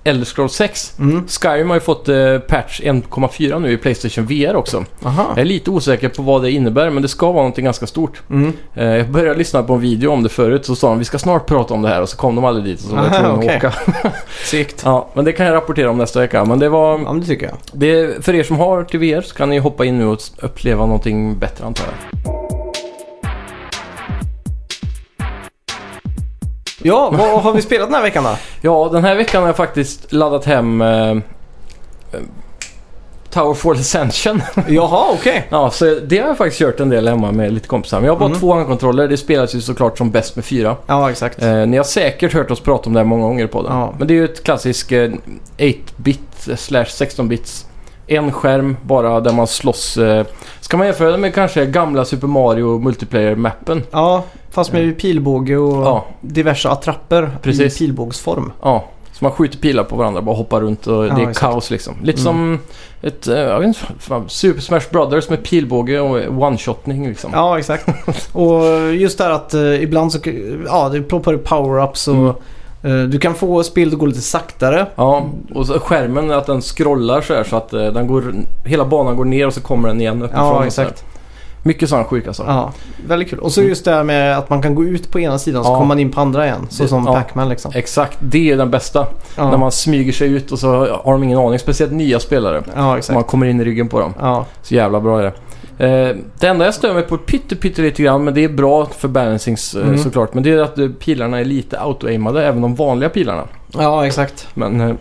[SPEAKER 1] Elder Scrolls 6.
[SPEAKER 2] Mm.
[SPEAKER 1] Skyrim har ju fått eh, patch 1.4 nu i Playstation VR också.
[SPEAKER 2] Aha.
[SPEAKER 1] Jag är lite osäker på vad det innebär men det ska vara någonting ganska stort.
[SPEAKER 2] Mm.
[SPEAKER 1] Eh, jag började lyssna på en video om det förut så sa de vi ska snart prata om det här och så kom de aldrig dit och så var jag
[SPEAKER 2] Aha,
[SPEAKER 1] tvungen
[SPEAKER 2] okej.
[SPEAKER 1] att åka.
[SPEAKER 2] Segt.
[SPEAKER 1] Ja, men det kan jag rapportera om nästa vecka. Men det var...
[SPEAKER 2] Ja, men det tycker jag.
[SPEAKER 1] Det, för er som har till VR så kan ni hoppa in nu och uppleva någonting bättre antar jag.
[SPEAKER 2] Ja, vad har vi spelat den här veckan då?
[SPEAKER 1] Ja, den här veckan har jag faktiskt laddat hem eh, eh, Tower Fall Ascension.
[SPEAKER 2] Jaha, okej.
[SPEAKER 1] ja, så det har jag faktiskt kört en del hemma med lite kompisar. Men jag har bara
[SPEAKER 2] Mm.
[SPEAKER 1] två handkontroller. Det spelas ju såklart som bäst med fyra.
[SPEAKER 2] Ja, exakt.
[SPEAKER 1] Eh, ni har säkert hört oss prata om det här många gånger på den.
[SPEAKER 2] Ja.
[SPEAKER 1] Men det är ju ett klassiskt eh, 8-bit eh, slash 16-bits. En skärm bara där man slåss. Eh, ska man jämföra det med kanske gamla Super Mario multiplayer-mappen?
[SPEAKER 2] Ja, fast med pilbåge och
[SPEAKER 1] Eh. Ja.
[SPEAKER 2] diverse attrapper
[SPEAKER 1] Precis.
[SPEAKER 2] i pilbågsform.
[SPEAKER 1] Ja, så man skjuter pilar på varandra bara hoppar runt och
[SPEAKER 2] Ja,
[SPEAKER 1] det är
[SPEAKER 2] exakt. Mm.
[SPEAKER 1] kaos liksom. Lite som ett, eh, jag vet inte, fan, Super Smash Brothers med pilbåge och one-shotning liksom.
[SPEAKER 2] Ja, exakt. och just det här att eh, ibland så ja, det ploppar upp power-ups och
[SPEAKER 1] Mm.
[SPEAKER 2] eh, du kan få spelet att gå lite saktare.
[SPEAKER 1] Ja, och så skärmen att den scrollar så här så att eh, den går, hela banan går ner och så kommer den igen uppifrån.
[SPEAKER 2] Ja,
[SPEAKER 1] och så här.
[SPEAKER 2] exakt.
[SPEAKER 1] Mycket sådana sjuka saker.
[SPEAKER 2] Ja, väldigt kul. Och så just det här med att man kan gå ut på ena sidan så
[SPEAKER 1] Mm. Ja.
[SPEAKER 2] kommer man in på andra igen. Så
[SPEAKER 1] Det-
[SPEAKER 2] som
[SPEAKER 1] ja.
[SPEAKER 2] Pac-Man liksom.
[SPEAKER 1] Exakt, det är den bästa.
[SPEAKER 2] Ja,
[SPEAKER 1] När man smyger sig ut och så har de ingen aning. Speciellt nya spelare.
[SPEAKER 2] ja
[SPEAKER 1] Så man
[SPEAKER 2] exakt.
[SPEAKER 1] kommer in i ryggen på dem.
[SPEAKER 2] Ja.
[SPEAKER 1] Så jävla bra är det. Eh, det enda jag stör mig på pytte, pytte lite grann, men det är bra för balancings eh,
[SPEAKER 2] Mm.
[SPEAKER 1] såklart. Men det är att eh, pilarna är lite auto-aimade, även de vanliga pilarna.
[SPEAKER 2] ja, exakt.
[SPEAKER 1] Men eh,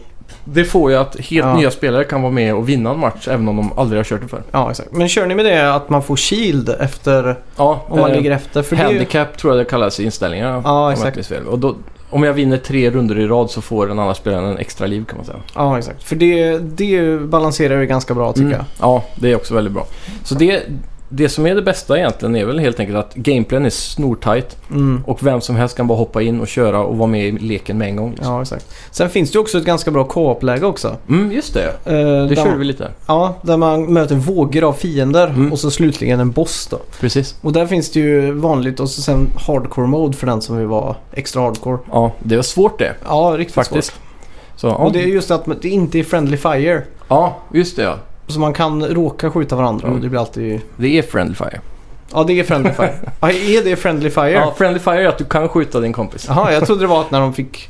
[SPEAKER 1] det får ju att helt
[SPEAKER 2] Ja.
[SPEAKER 1] nya spelare kan vara med och vinna en match, även om de aldrig har kört det förr.
[SPEAKER 2] Ja, exakt. Men kör ni med det att man får shield efter
[SPEAKER 1] Ja,
[SPEAKER 2] om man
[SPEAKER 1] eh,
[SPEAKER 2] ligger efter? För det är ju...
[SPEAKER 1] handicap tror jag det kallas i inställningarna. om jag
[SPEAKER 2] exakt.
[SPEAKER 1] inte minns fel. Och då, om jag vinner tre runder i rad så får den andra spelaren en extra liv kan man säga.
[SPEAKER 2] Ja, exakt. För det, det balanserar ju ganska bra tycker jag.
[SPEAKER 1] Ja, det är också väldigt bra. Så det, det som är det bästa egentligen är väl helt enkelt att gameplayen är snortajt
[SPEAKER 2] Mm.
[SPEAKER 1] och vem som helst kan bara hoppa in och köra och vara med i leken med en gång. Liksom.
[SPEAKER 2] Ja, exakt. Sen finns det ju också ett ganska bra co-op-läge också.
[SPEAKER 1] Mm, just det.
[SPEAKER 2] Eh,
[SPEAKER 1] Det
[SPEAKER 2] där
[SPEAKER 1] körde
[SPEAKER 2] man,
[SPEAKER 1] vi lite.
[SPEAKER 2] Ja, där man möter vågor av fiender
[SPEAKER 1] Mm.
[SPEAKER 2] och så slutligen en boss då.
[SPEAKER 1] Precis.
[SPEAKER 2] Och där finns det ju vanligt och så sen hardcore mode för den som vill vara extra hardcore.
[SPEAKER 1] Ja, det var svårt det.
[SPEAKER 2] Ja, riktigt
[SPEAKER 1] Faktiskt.
[SPEAKER 2] svårt.
[SPEAKER 1] Så, ja.
[SPEAKER 2] Och det är just att det inte är friendly fire.
[SPEAKER 1] ja, just det ja.
[SPEAKER 2] Så man kan råka skjuta varandra
[SPEAKER 1] Mm.
[SPEAKER 2] och det blir alltid...
[SPEAKER 1] Det är friendly fire.
[SPEAKER 2] Ja, det är friendly fire. ja, är det friendly fire?
[SPEAKER 1] Ja, friendly fire är att du kan skjuta din kompis.
[SPEAKER 2] Jaha, jag trodde det var att när de fick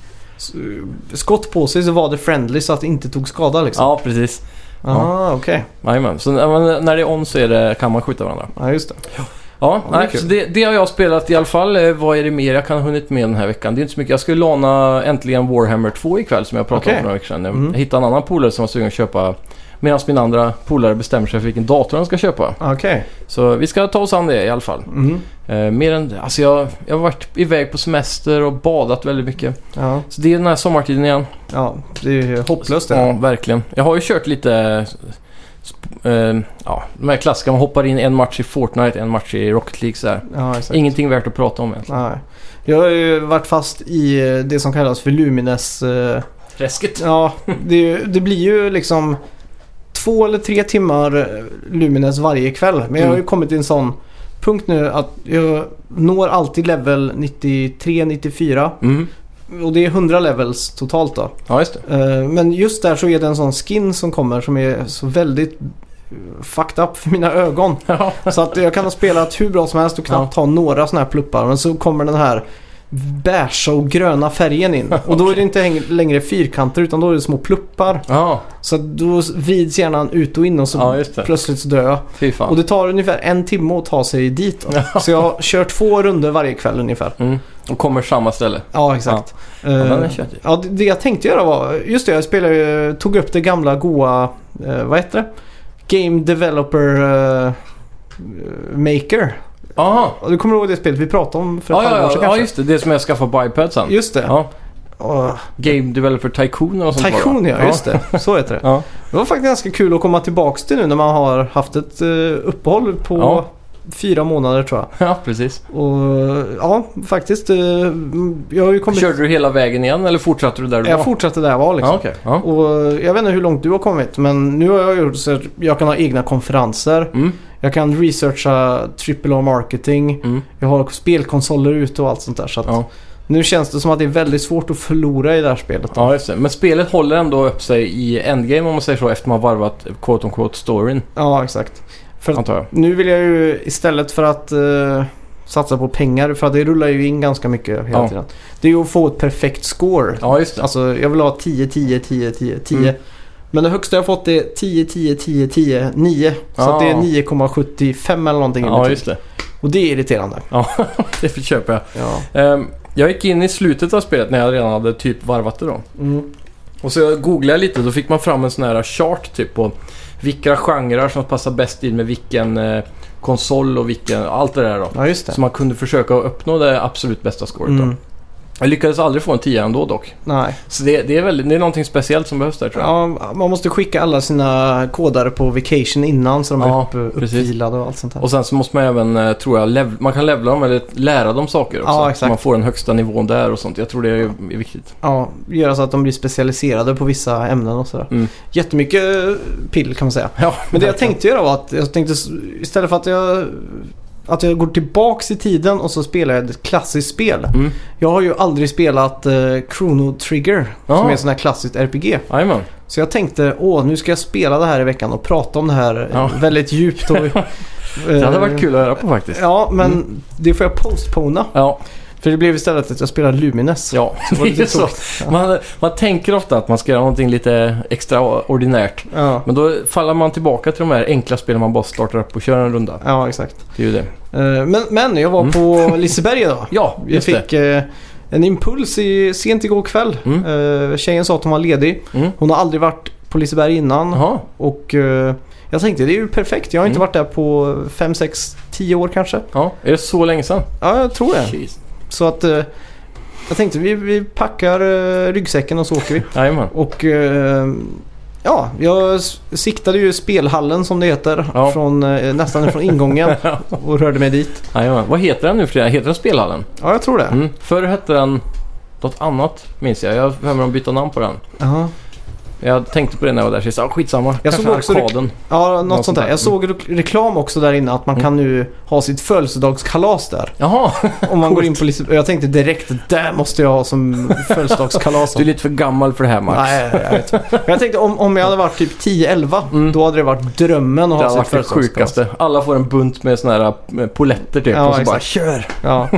[SPEAKER 2] eh, skott på sig så var det friendly så att det inte tog skada liksom.
[SPEAKER 1] Ja, precis.
[SPEAKER 2] Ah, okej.
[SPEAKER 1] Jajamän. Så när man- när det är on så är det, kan man skjuta varandra.
[SPEAKER 2] Ja, just det.
[SPEAKER 1] Ja,
[SPEAKER 2] det är
[SPEAKER 1] nej,
[SPEAKER 2] kul.
[SPEAKER 1] så det, det har jag spelat i alla fall. Eh, Vad är det mer jag kan ha hunnit med den här veckan? Det är inte så mycket. Jag ska ju låna äntligen Warhammer 2 ikväll som jag pratade om
[SPEAKER 2] Okej.
[SPEAKER 1] för några veckor sedan. Jag
[SPEAKER 2] Mm.
[SPEAKER 1] hittade en annan polare som var sugen att köpa medan min andra polare bestämmer sig för vilken dator han ska köpa.
[SPEAKER 2] Okej.
[SPEAKER 1] Så vi ska ta oss an det i alla fall.
[SPEAKER 2] Mhm.
[SPEAKER 1] Eh, mer än, alltså jag, jag har varit iväg på semester och badat väldigt mycket.
[SPEAKER 2] Ja,
[SPEAKER 1] Så det är den här sommartiden igen.
[SPEAKER 2] ja, det är ju hopplöst det.
[SPEAKER 1] Ja, verkligen. Jag har ju kört lite... eh, sp- eh, ja, de här klassiska. Man hoppar in en match i Fortnite, en match i Rocket League så här.
[SPEAKER 2] Ja, exakt.
[SPEAKER 1] Ingenting värt att prata om egentligen.
[SPEAKER 2] Nej. Jag har ju varit fast i eh, det som kallas för Lumines... eh,
[SPEAKER 1] Träsket.
[SPEAKER 2] Ja, det, är ju- det blir ju liksom två eller tre timmar eh, Lumines varje kväll. Men jag har ju
[SPEAKER 1] Mm.
[SPEAKER 2] kommit till en sån punkt nu att jag når alltid level 93-94.
[SPEAKER 1] Mm.
[SPEAKER 2] Och det är 100 levels totalt då.
[SPEAKER 1] Ja, just det.
[SPEAKER 2] Eh, Men just där så är det en sån skin som kommer som är så väldigt eh, fucked up för mina ögon.
[SPEAKER 1] Ja.
[SPEAKER 2] Så att jag kan ha spelat hur bra som helst och knappt ha några sådana här pluppar. Men så kommer den här beiga och gröna färgen in. Och då är det inte häng- längre fyrkanter utan då är det små pluppar.
[SPEAKER 1] Ja,
[SPEAKER 2] Så att då vrids hjärnan ut och in och så
[SPEAKER 1] Ja, just det.
[SPEAKER 2] plötsligt så dör jag.
[SPEAKER 1] fy fan.
[SPEAKER 2] Och det tar ungefär en timme att ta sig dit. Då. Så jag kör två runder varje kväll ungefär.
[SPEAKER 1] Mm. Och kommer samma ställe.
[SPEAKER 2] Ja, exakt. Ja.
[SPEAKER 1] Ja, den är köttig.
[SPEAKER 2] ja, det- det jag tänkte göra var... Just det, jag spelade, ju- tog upp det gamla goa... Eh, vad heter det? Game Developer eh, Maker.
[SPEAKER 1] Jaha.
[SPEAKER 2] Ja, Du kommer ihåg det spelet vi pratade om för ett
[SPEAKER 1] Ja, ja,
[SPEAKER 2] halvår
[SPEAKER 1] ja,
[SPEAKER 2] sedan
[SPEAKER 1] ja,
[SPEAKER 2] kanske?
[SPEAKER 1] just det. Det som jag skaffade på iPad sen.
[SPEAKER 2] Just det.
[SPEAKER 1] Ja.
[SPEAKER 2] Ja.
[SPEAKER 1] Game Developer Tycoon och sånt var det, va?
[SPEAKER 2] Tycoon ja, just det. Så heter det.
[SPEAKER 1] Ja.
[SPEAKER 2] Det var faktiskt ganska kul att komma tillbaks till nu när man har haft ett eh, uppehåll på
[SPEAKER 1] Ja.
[SPEAKER 2] fyra månader tror jag.
[SPEAKER 1] ja, precis.
[SPEAKER 2] Och ja, faktiskt. eh, Jag har ju kommit...
[SPEAKER 1] Körde du hela vägen igen eller fortsatte du där du
[SPEAKER 2] Jag
[SPEAKER 1] var?
[SPEAKER 2] fortsatte där jag var liksom.
[SPEAKER 1] Ja, okej. Ja.
[SPEAKER 2] Och eh, jag vet inte hur långt du har kommit men nu har jag gjort så att jag kan ha egna konferenser.
[SPEAKER 1] Mm,
[SPEAKER 2] Jag kan researcha AAA marketing.
[SPEAKER 1] mm.
[SPEAKER 2] Jag har spelkonsoler ute och allt sånt där. Så att
[SPEAKER 1] Ja.
[SPEAKER 2] nu känns det som att det är väldigt svårt att förlora i det här spelet.
[SPEAKER 1] ja, just det. Men spelet håller ändå upp sig i endgame om man säger så efter man varvat quote on quote storyn,
[SPEAKER 2] Ja, exakt. För att
[SPEAKER 1] antar jag.
[SPEAKER 2] nu vill jag ju istället för att eh, satsa på pengar, för att det rullar ju in ganska mycket hela
[SPEAKER 1] Ja.
[SPEAKER 2] tiden. Det är ju att få ett perfekt score.
[SPEAKER 1] Ja, just det.
[SPEAKER 2] Alltså jag vill ha 10, 10, 10, 10, 10.
[SPEAKER 1] Mm.
[SPEAKER 2] Men det högsta jag fått är 10, 10, 10, 10, 9. Så
[SPEAKER 1] Ah.
[SPEAKER 2] att det är 9,75 eller någonting. i
[SPEAKER 1] Ja,
[SPEAKER 2] betyg.
[SPEAKER 1] just det.
[SPEAKER 2] Och det är irriterande.
[SPEAKER 1] Ja, det köper jag.
[SPEAKER 2] Ja.
[SPEAKER 1] Ehm, Jag gick in i slutet av spelet när jag redan hade typ varvat det då.
[SPEAKER 2] Mm.
[SPEAKER 1] Och så googlade jag lite, då fick man fram en sån här chart typ på vilka genrer som passar bäst in med vilken eh, konsol och vilken, allt det där då.
[SPEAKER 2] Ja, just det.
[SPEAKER 1] Så man kunde försöka uppnå det absolut bästa scoret då.
[SPEAKER 2] Mm.
[SPEAKER 1] Jag lyckades aldrig få en 10 ändå dock.
[SPEAKER 2] Nej.
[SPEAKER 1] Så det, det, är väldigt, det är någonting speciellt som behövs där tror jag.
[SPEAKER 2] Ja, man måste skicka alla sina kodare på vacation innan så de är
[SPEAKER 1] Ja,
[SPEAKER 2] upp,
[SPEAKER 1] precis.
[SPEAKER 2] uppvilade och allt sånt där.
[SPEAKER 1] Och sen så måste man även, eh, tror jag, lev- man kan levla dem eller lära dem saker också.
[SPEAKER 2] Ja,
[SPEAKER 1] Så
[SPEAKER 2] exakt.
[SPEAKER 1] man får den högsta nivån där och sånt. Jag tror det är är viktigt.
[SPEAKER 2] Ja, göra så att de blir specialiserade på vissa ämnen och sådär.
[SPEAKER 1] Mm.
[SPEAKER 2] Jättemycket eh, pill kan man säga.
[SPEAKER 1] Ja,
[SPEAKER 2] Men det jag
[SPEAKER 1] verkligen.
[SPEAKER 2] tänkte göra var att jag tänkte s- istället för att jag, att jag går tillbaks i tiden och så spelar jag ett klassiskt spel.
[SPEAKER 1] Mm.
[SPEAKER 2] Jag har ju aldrig spelat eh, Chrono Trigger som
[SPEAKER 1] Ja.
[SPEAKER 2] är ett sånt här klassiskt RPG.
[SPEAKER 1] Jajamän.
[SPEAKER 2] Så jag tänkte, åh nu ska jag spela det här i veckan och prata om det här eh,
[SPEAKER 1] Ja.
[SPEAKER 2] väldigt djupt. Och, eh,
[SPEAKER 1] Det hade varit kul Mm. att höra på faktiskt.
[SPEAKER 2] Ja, men det får jag postpona.
[SPEAKER 1] Ja,
[SPEAKER 2] För det blev istället att jag spelade Lumines.
[SPEAKER 1] ja.
[SPEAKER 2] var
[SPEAKER 1] det
[SPEAKER 2] lite
[SPEAKER 1] är så. Man, man tänker ofta att man ska göra någonting lite extraordinärt.
[SPEAKER 2] Ja,
[SPEAKER 1] Men då faller man tillbaka till de här enkla spelen man bara startar upp och kör en runda.
[SPEAKER 2] ja exakt.
[SPEAKER 1] Det är ju det.
[SPEAKER 2] Eh, Men, men jag var
[SPEAKER 1] Mm.
[SPEAKER 2] på Liseberg idag.
[SPEAKER 1] Ja,
[SPEAKER 2] Jag
[SPEAKER 1] just det.
[SPEAKER 2] fick eh, en impuls i, sent igår kväll.
[SPEAKER 1] Mm.
[SPEAKER 2] Eh, tjejen sa att hon var ledig.
[SPEAKER 1] Mm.
[SPEAKER 2] Hon har aldrig varit på Liseberg innan.
[SPEAKER 1] Jaha.
[SPEAKER 2] Och eh, jag tänkte det är ju perfekt. Jag har inte
[SPEAKER 1] Mm.
[SPEAKER 2] varit där på 5, 6, 10 år kanske.
[SPEAKER 1] Ja, är det så länge sedan?
[SPEAKER 2] Ja, jag tror det.
[SPEAKER 1] Jeez.
[SPEAKER 2] Så att eh, jag tänkte vi, vi packar eh, ryggsäcken och så åker vi.
[SPEAKER 1] Jajamän.
[SPEAKER 2] Och eh, ja, jag s- siktade ju spelhallen som det heter.
[SPEAKER 1] Ja.
[SPEAKER 2] Från, eh, nästan från ingången och rörde mig dit.
[SPEAKER 1] Jajamän. Vad heter den nu för tiden? Heter den Spelhallen?
[SPEAKER 2] Ja, jag tror det.
[SPEAKER 1] Mm. Förr hette den något annat, minns jag. Jag har för mig att byta namn på den.
[SPEAKER 2] Jaha.
[SPEAKER 1] Jag tänkte på det när jag var där sist. Ja, skitsamma. Jag Kanske
[SPEAKER 2] såg också det-
[SPEAKER 1] Arkaden.
[SPEAKER 2] Ja, något,
[SPEAKER 1] Något
[SPEAKER 2] sånt där.
[SPEAKER 1] sånt där. Mm.
[SPEAKER 2] Jag såg re- reklam också där inne att man kan nu ha sitt födelsedagskalas där.
[SPEAKER 1] Jaha,
[SPEAKER 2] Om man går in på Liseberg. Jag tänkte direkt det där måste jag ha som födelsedagskalas.
[SPEAKER 1] du är lite för gammal för det här Max.
[SPEAKER 2] Nej, jag vet. Men jag tänkte om, om jag hade varit typ 10-11
[SPEAKER 1] Mm.
[SPEAKER 2] då hade det varit drömmen att
[SPEAKER 1] Det
[SPEAKER 2] ha
[SPEAKER 1] har
[SPEAKER 2] sitt
[SPEAKER 1] varit det
[SPEAKER 2] födelsedagskalas.
[SPEAKER 1] sjukaste. Alla får en bunt med såna här eh, poletter typ
[SPEAKER 2] Ja,
[SPEAKER 1] och så
[SPEAKER 2] exakt.
[SPEAKER 1] bara kör.
[SPEAKER 2] Ja.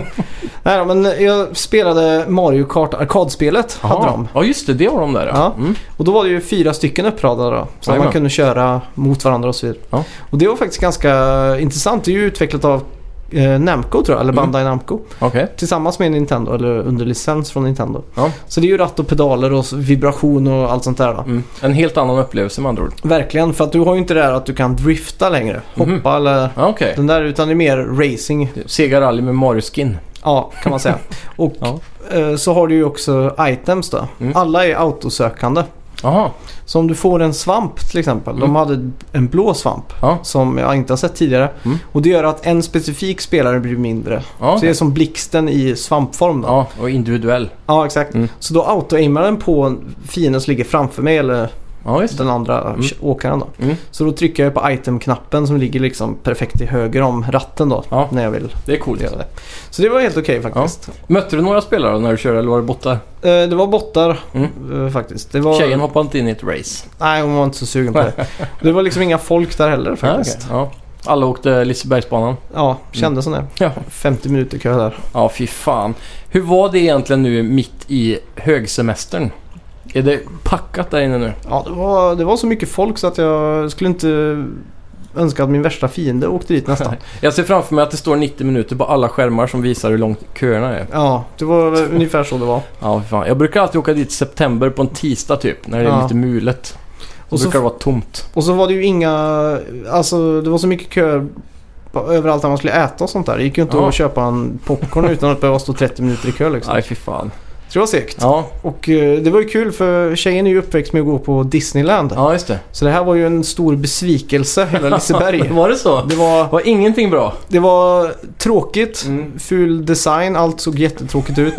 [SPEAKER 2] Nej då, men jag spelade Mario Kart arkadspelet hade
[SPEAKER 1] Jaha.
[SPEAKER 2] de.
[SPEAKER 1] Ja just det, det har de där
[SPEAKER 2] Ja.
[SPEAKER 1] Mm.
[SPEAKER 2] Och då var det ju fyra stycken uppradade då. Så att
[SPEAKER 1] Jajamän.
[SPEAKER 2] man kunde köra mot varandra och så vidare.
[SPEAKER 1] Ja.
[SPEAKER 2] Och det var faktiskt ganska intressant. Det är ju utvecklat av eh, Namco tror jag, eller
[SPEAKER 1] Mm.
[SPEAKER 2] Bandai Namco.
[SPEAKER 1] Okej.
[SPEAKER 2] Tillsammans med Nintendo, eller under licens från Nintendo.
[SPEAKER 1] Ja.
[SPEAKER 2] Så det är ju ratt och pedaler och vibration och allt sånt där. Då.
[SPEAKER 1] Mm. En helt annan upplevelse med andra ord.
[SPEAKER 2] Verkligen, för att du har ju inte det där att du kan drifta längre. Hoppa
[SPEAKER 1] Mhm.
[SPEAKER 2] eller
[SPEAKER 1] Ja, Okej.
[SPEAKER 2] den där, utan det är mer racing.
[SPEAKER 1] Sega Rally med Mario-skin.
[SPEAKER 2] Ja, kan man säga. och
[SPEAKER 1] Ja.
[SPEAKER 2] eh, så har du ju också items då.
[SPEAKER 1] Mm.
[SPEAKER 2] Alla är autosökande.
[SPEAKER 1] Jaha.
[SPEAKER 2] Så om du får en svamp till exempel. De
[SPEAKER 1] Mm.
[SPEAKER 2] hade en blå svamp
[SPEAKER 1] Ja.
[SPEAKER 2] som jag inte har sett tidigare.
[SPEAKER 1] Mm.
[SPEAKER 2] Och det gör att en specifik spelare blir mindre.
[SPEAKER 1] Ja.
[SPEAKER 2] Så det är som blixten i svampform då.
[SPEAKER 1] ja, och individuell.
[SPEAKER 2] Ja, exakt.
[SPEAKER 1] Mm.
[SPEAKER 2] Så då auto-aimar den på fienden som ligger framför mig eller
[SPEAKER 1] Ja, just det.
[SPEAKER 2] den andra
[SPEAKER 1] Mm.
[SPEAKER 2] åkaren då.
[SPEAKER 1] Mm.
[SPEAKER 2] Så då trycker jag på item-knappen som ligger liksom perfekt till höger om ratten då.
[SPEAKER 1] Ja.
[SPEAKER 2] När jag vill
[SPEAKER 1] Det är coolt.
[SPEAKER 2] göra det. Så det var helt okej faktiskt.
[SPEAKER 1] Mötte du några spelare när du körde eller var det borta?
[SPEAKER 2] Eh, Det var bottar
[SPEAKER 1] Mm.
[SPEAKER 2] eh, faktiskt. Det var...
[SPEAKER 1] Tjejen hoppade inte in i ett race.
[SPEAKER 2] Nej, hon var inte så sugen på det. Det var liksom inga folk där heller faktiskt.
[SPEAKER 1] Ja, okej. ja. Alla åkte Lisebergsbanan.
[SPEAKER 2] Ja, kändes som det.
[SPEAKER 1] Ja.
[SPEAKER 2] 50 minuter kö där.
[SPEAKER 1] Ja, fy fan. Hur var det egentligen nu mitt i högsemestern? Är det packat där inne nu?
[SPEAKER 2] Ja, det var, det var så mycket folk så att jag skulle inte önska att min värsta fiende åkte dit nästan.
[SPEAKER 1] Jag ser framför mig att det står 90 minuter på alla skärmar som visar hur långt köerna är.
[SPEAKER 2] Ja, det var väl ungefär så det var.
[SPEAKER 1] Ja, fy fan. Jag brukar alltid åka dit i september på en tisdag typ, när det är
[SPEAKER 2] Ja.
[SPEAKER 1] lite mulet. Då
[SPEAKER 2] Och så
[SPEAKER 1] brukar det vara tomt.
[SPEAKER 2] Och så var det ju inga, alltså det var så mycket köer på- överallt där man skulle äta och sånt där. Det gick ju inte
[SPEAKER 1] Ja.
[SPEAKER 2] att köpa en popcorn utan att behöva stå 30 minuter i kö liksom.
[SPEAKER 1] Nej, fy fan.
[SPEAKER 2] Så det var segt.
[SPEAKER 1] Ja,
[SPEAKER 2] Och eh, det var ju kul för tjejen är ju uppväxt med att gå på Disneyland.
[SPEAKER 1] ja just det.
[SPEAKER 2] Så det här var ju en stor besvikelse, hela Liseberg.
[SPEAKER 1] Var det så?
[SPEAKER 2] Det var,
[SPEAKER 1] Var ingenting bra?
[SPEAKER 2] det var tråkigt,
[SPEAKER 1] Mm.
[SPEAKER 2] ful design, allt såg jättetråkigt ut.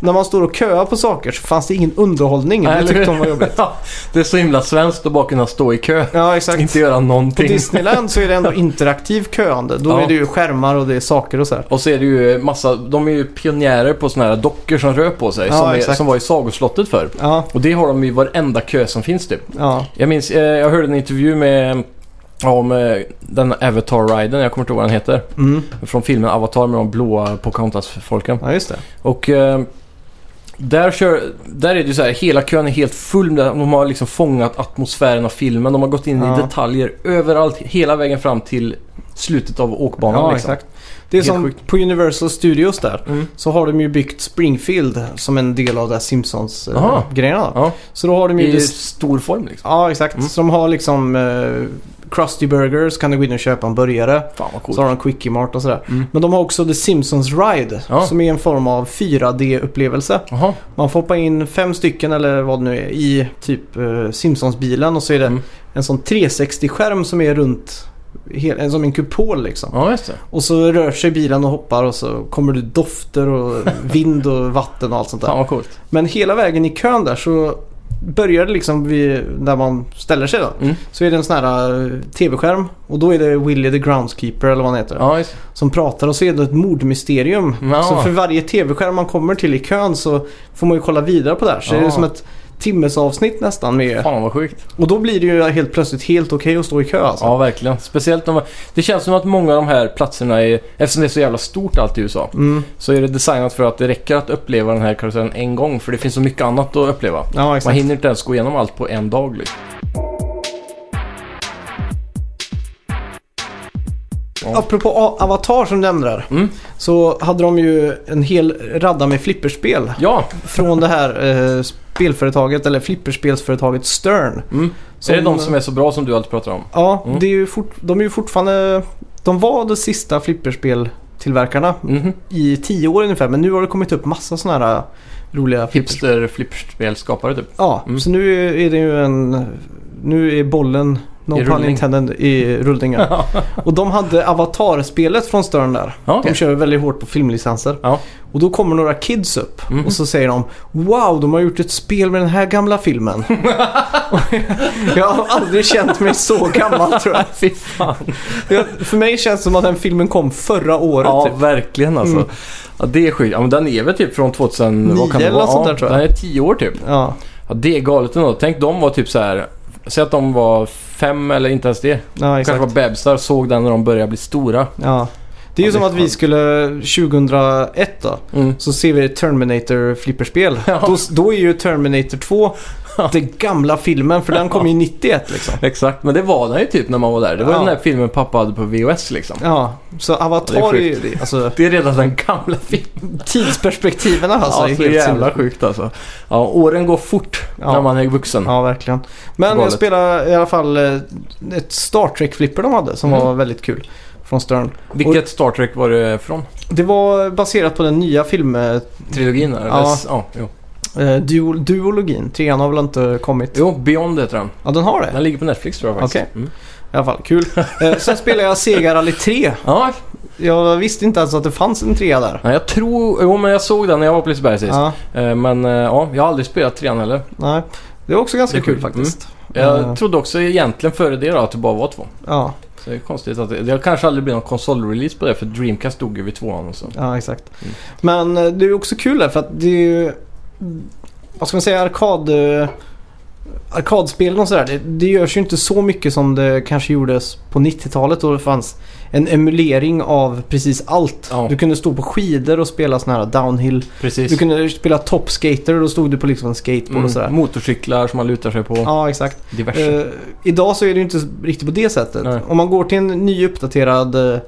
[SPEAKER 2] När man står och köar på saker så fanns det ingen underhållning.
[SPEAKER 1] Nej,
[SPEAKER 2] Det liksom-
[SPEAKER 1] eller hur?
[SPEAKER 2] tyckte de var jobbigt.
[SPEAKER 1] Ja, det är så himla svenskt att bara kunna stå i kö.
[SPEAKER 2] Ja, exakt.
[SPEAKER 1] Inte göra
[SPEAKER 2] På
[SPEAKER 1] någonting.
[SPEAKER 2] Disneyland så är det ändå interaktiv köande. Då
[SPEAKER 1] Ja.
[SPEAKER 2] är det ju skärmar och det är saker och så här.
[SPEAKER 1] Och så är det ju massa, de är ju pionjärer på såna här dockor som rör på sig.
[SPEAKER 2] Ja,
[SPEAKER 1] som, är,
[SPEAKER 2] exakt.
[SPEAKER 1] som var i sagoslottet förr.
[SPEAKER 2] Ja,
[SPEAKER 1] Och det har de i varenda kö som finns typ.
[SPEAKER 2] ja.
[SPEAKER 1] Jag minns, eh, jag hörde en intervju med ja, om eh, den Avatar-riden, jag kommer inte ihåg vad den heter.
[SPEAKER 2] Mm.
[SPEAKER 1] Från filmen Avatar med de blåa Pocahontas-folken.
[SPEAKER 2] ja, just det.
[SPEAKER 1] Och eh, där, kör, där är det ju så här, hela kön är helt full. Med, de har liksom fångat atmosfären av filmen. De har gått in
[SPEAKER 2] Ja.
[SPEAKER 1] i detaljer överallt, hela vägen fram till slutet av åkbanan.
[SPEAKER 2] Ja,
[SPEAKER 1] liksom.
[SPEAKER 2] exakt. Det är
[SPEAKER 1] Helt
[SPEAKER 2] som
[SPEAKER 1] sjukt.
[SPEAKER 2] på Universal Studios där.
[SPEAKER 1] Mm.
[SPEAKER 2] Så har de ju byggt Springfield som en del av det
[SPEAKER 1] Aha.
[SPEAKER 2] här Simpsons-grejerna.
[SPEAKER 1] Ja,
[SPEAKER 2] Så då har de ju...
[SPEAKER 1] I
[SPEAKER 2] det-
[SPEAKER 1] stor form liksom.
[SPEAKER 2] Ja, exakt.
[SPEAKER 1] Mm.
[SPEAKER 2] Så de har liksom eh, Krusty Burger, så kan du gå in och köpa en burgare.
[SPEAKER 1] Fan vad coolt.
[SPEAKER 2] Så har de Quickie Mart och sådär.
[SPEAKER 1] Mm.
[SPEAKER 2] Men de har också The Simpsons Ride,
[SPEAKER 1] Ja.
[SPEAKER 2] som är en form av 4D-upplevelse.
[SPEAKER 1] Jaha.
[SPEAKER 2] Man får hoppa in fem stycken eller vad det nu är i typ eh, Simpsons-bilen och så är det
[SPEAKER 1] Mm.
[SPEAKER 2] en sån 360-skärm som är runt, hel, en- som en kupol liksom.
[SPEAKER 1] Ja, just det.
[SPEAKER 2] Och så rör sig bilen och hoppar och så kommer det dofter och vind och vatten och allt sånt där.
[SPEAKER 1] Fan vad coolt.
[SPEAKER 2] Men hela vägen i kön där så börjar det liksom vid, där man ställer sig då.
[SPEAKER 1] Mm.
[SPEAKER 2] Så är det en sån här eh, tv-skärm och då är det Willie the Groundskeeper eller vad han heter.
[SPEAKER 1] Ja, just det.
[SPEAKER 2] Som pratar och så är det ett mordmysterium.
[SPEAKER 1] Ja.
[SPEAKER 2] Så för varje tv-skärm man kommer till i kön så får man ju kolla vidare på det här. Så det
[SPEAKER 1] Ja.
[SPEAKER 2] är som ett timmesavsnitt nästan med.
[SPEAKER 1] Fan vad sjukt.
[SPEAKER 2] Och då blir det ju helt plötsligt helt okej att stå i kö alltså.
[SPEAKER 1] Ja, verkligen. Speciellt om... Det känns som att många av de här platserna är... Eftersom det är så jävla stort allt i USA.
[SPEAKER 2] Mm.
[SPEAKER 1] Så är det designat för att det räcker att uppleva den här karusellen en gång. För det finns så mycket annat att uppleva.
[SPEAKER 2] Ja,
[SPEAKER 1] Man
[SPEAKER 2] exakt.
[SPEAKER 1] hinner inte ens gå igenom allt på en dag. Liksom.
[SPEAKER 2] Apropå A- Avatar som du nämnde där.
[SPEAKER 1] Mm.
[SPEAKER 2] Så hade de ju en hel radda med flipperspel.
[SPEAKER 1] Ja,
[SPEAKER 2] Från det här eh, spelföretaget, eller flipperspelsföretaget Stern.
[SPEAKER 1] mm.
[SPEAKER 2] Som-
[SPEAKER 1] är det de som är så bra som du alltid pratar om?
[SPEAKER 2] Ja,
[SPEAKER 1] Mm.
[SPEAKER 2] det är ju fort, de är ju fortfarande... De var de sista flipperspeltillverkarna
[SPEAKER 1] Mhm.
[SPEAKER 2] i tio år ungefär. Men nu har det kommit upp massa sådana här äh, roliga flippers.
[SPEAKER 1] Hipster flipperspelskapare typ.
[SPEAKER 2] Ja,
[SPEAKER 1] Mm.
[SPEAKER 2] så nu är det ju en... Nu är bollen, no
[SPEAKER 1] I
[SPEAKER 2] pun
[SPEAKER 1] rullning.
[SPEAKER 2] intended, i rullning. ja. Och de hade Avatar-spelet från Stern där.
[SPEAKER 1] Ja, okej.
[SPEAKER 2] De kör väldigt hårt på filmlicenser.
[SPEAKER 1] Ja.
[SPEAKER 2] Och då kommer några kids upp
[SPEAKER 1] Mhm.
[SPEAKER 2] och så säger de Wow, de har gjort ett spel med den här gamla filmen. jag har aldrig känt mig så gammal tror jag.
[SPEAKER 1] Fy fan.
[SPEAKER 2] jag. För mig känns det som att den filmen kom förra året.
[SPEAKER 1] Ja,
[SPEAKER 2] typ.
[SPEAKER 1] verkligen alltså.
[SPEAKER 2] Mm.
[SPEAKER 1] Ja, det är sjukt. Ja, men den är väl typ från 2000...
[SPEAKER 2] Nio
[SPEAKER 1] det
[SPEAKER 2] eller
[SPEAKER 1] vara?
[SPEAKER 2] något sånt där, tror jag.
[SPEAKER 1] Den är 10 år typ.
[SPEAKER 2] ja.
[SPEAKER 1] Ja, det är galet ändå. Tänk de var typ så här... Säg att de var fem eller inte ens det.
[SPEAKER 2] ja,
[SPEAKER 1] De
[SPEAKER 2] exakt.
[SPEAKER 1] kanske var bebisar, såg den när de började bli stora.
[SPEAKER 2] Ja. Det är ju
[SPEAKER 1] Ja, det
[SPEAKER 2] som
[SPEAKER 1] är
[SPEAKER 2] att vi
[SPEAKER 1] skönt.
[SPEAKER 2] skulle 2001 då.
[SPEAKER 1] Mm.
[SPEAKER 2] Så ser vi ett Terminator flipperspel.
[SPEAKER 1] Ja.
[SPEAKER 2] Då, då är ju Terminator 2 den gamla filmen för den kom ju 91 liksom.
[SPEAKER 1] Exakt, men det var den ju typ när man var där. Det var
[SPEAKER 2] Ja.
[SPEAKER 1] den där filmen pappa hade på VHS liksom.
[SPEAKER 2] Ja, så Avatar
[SPEAKER 1] Det
[SPEAKER 2] är
[SPEAKER 1] är
[SPEAKER 2] ju... Alltså,
[SPEAKER 1] Det är redan den gamla filmen.
[SPEAKER 2] tidsperspektiven alltså
[SPEAKER 1] Alltså,
[SPEAKER 2] är
[SPEAKER 1] så
[SPEAKER 2] helt
[SPEAKER 1] jävla
[SPEAKER 2] jävla
[SPEAKER 1] sjukt alltså. Ja, åren går fort
[SPEAKER 2] Ja.
[SPEAKER 1] när man är vuxen.
[SPEAKER 2] Ja, verkligen. Men jag
[SPEAKER 1] Galet.
[SPEAKER 2] spelade i alla fall eh, ett Star Trek-flipper de hade som
[SPEAKER 1] Mm.
[SPEAKER 2] var väldigt kul. Från Stern.
[SPEAKER 1] Vilket Star Trek var det från?
[SPEAKER 2] Det var baserat på den nya film, eh,
[SPEAKER 1] Trilogin? Eller?
[SPEAKER 2] Ja.
[SPEAKER 1] s- ja jo.
[SPEAKER 2] duol, duologin. Trean har väl inte kommit?
[SPEAKER 1] jo, Beyond heter den.
[SPEAKER 2] Ja, den har det.
[SPEAKER 1] Den ligger på Netflix tror jag faktiskt.
[SPEAKER 2] Okej.
[SPEAKER 1] Mm.
[SPEAKER 2] I alla fall, kul. Eh, Sen spelade jag Sega Rally 3.
[SPEAKER 1] Ja,
[SPEAKER 2] Jag visste inte ens att det fanns en trea där.
[SPEAKER 1] nej, jag tror... Jo, men jag såg den när jag var på Liseberg sist.
[SPEAKER 2] Ja,
[SPEAKER 1] Eh, Men eh, ja, jag har aldrig spelat trean heller.
[SPEAKER 2] nej. Det var också ganska
[SPEAKER 1] Det är Mm.
[SPEAKER 2] kul,
[SPEAKER 1] kul.
[SPEAKER 2] faktiskt.
[SPEAKER 1] Jag
[SPEAKER 2] Eh,
[SPEAKER 1] trodde också egentligen före det då att det bara var två.
[SPEAKER 2] ja,
[SPEAKER 1] Så det är konstigt att det, det kanske aldrig blir någon konsolrelease på det för Dreamcast dog ju vid tvåan och så.
[SPEAKER 2] ja, exakt.
[SPEAKER 1] Mm.
[SPEAKER 2] Men eh, det är också kul där för att det är ju... Vad ska man säga? Arkad... eh, Arkadspelen och sådär. Det, det görs ju inte så mycket som det kanske gjordes på 90-talet då det fanns en emulering av precis allt.
[SPEAKER 1] Ja.
[SPEAKER 2] Du kunde stå på skidor och spela sådana här downhill.
[SPEAKER 1] Precis.
[SPEAKER 2] Du kunde spela topskater och då stod du på liksom en skateboard och sådär.
[SPEAKER 1] Mm, motorcyklar som man lutar sig på.
[SPEAKER 2] Ja, exakt.
[SPEAKER 1] Diverse.
[SPEAKER 2] Eh, idag så är det ju inte riktigt på det sättet.
[SPEAKER 1] Nej.
[SPEAKER 2] Om man går till en ny uppdaterad eh,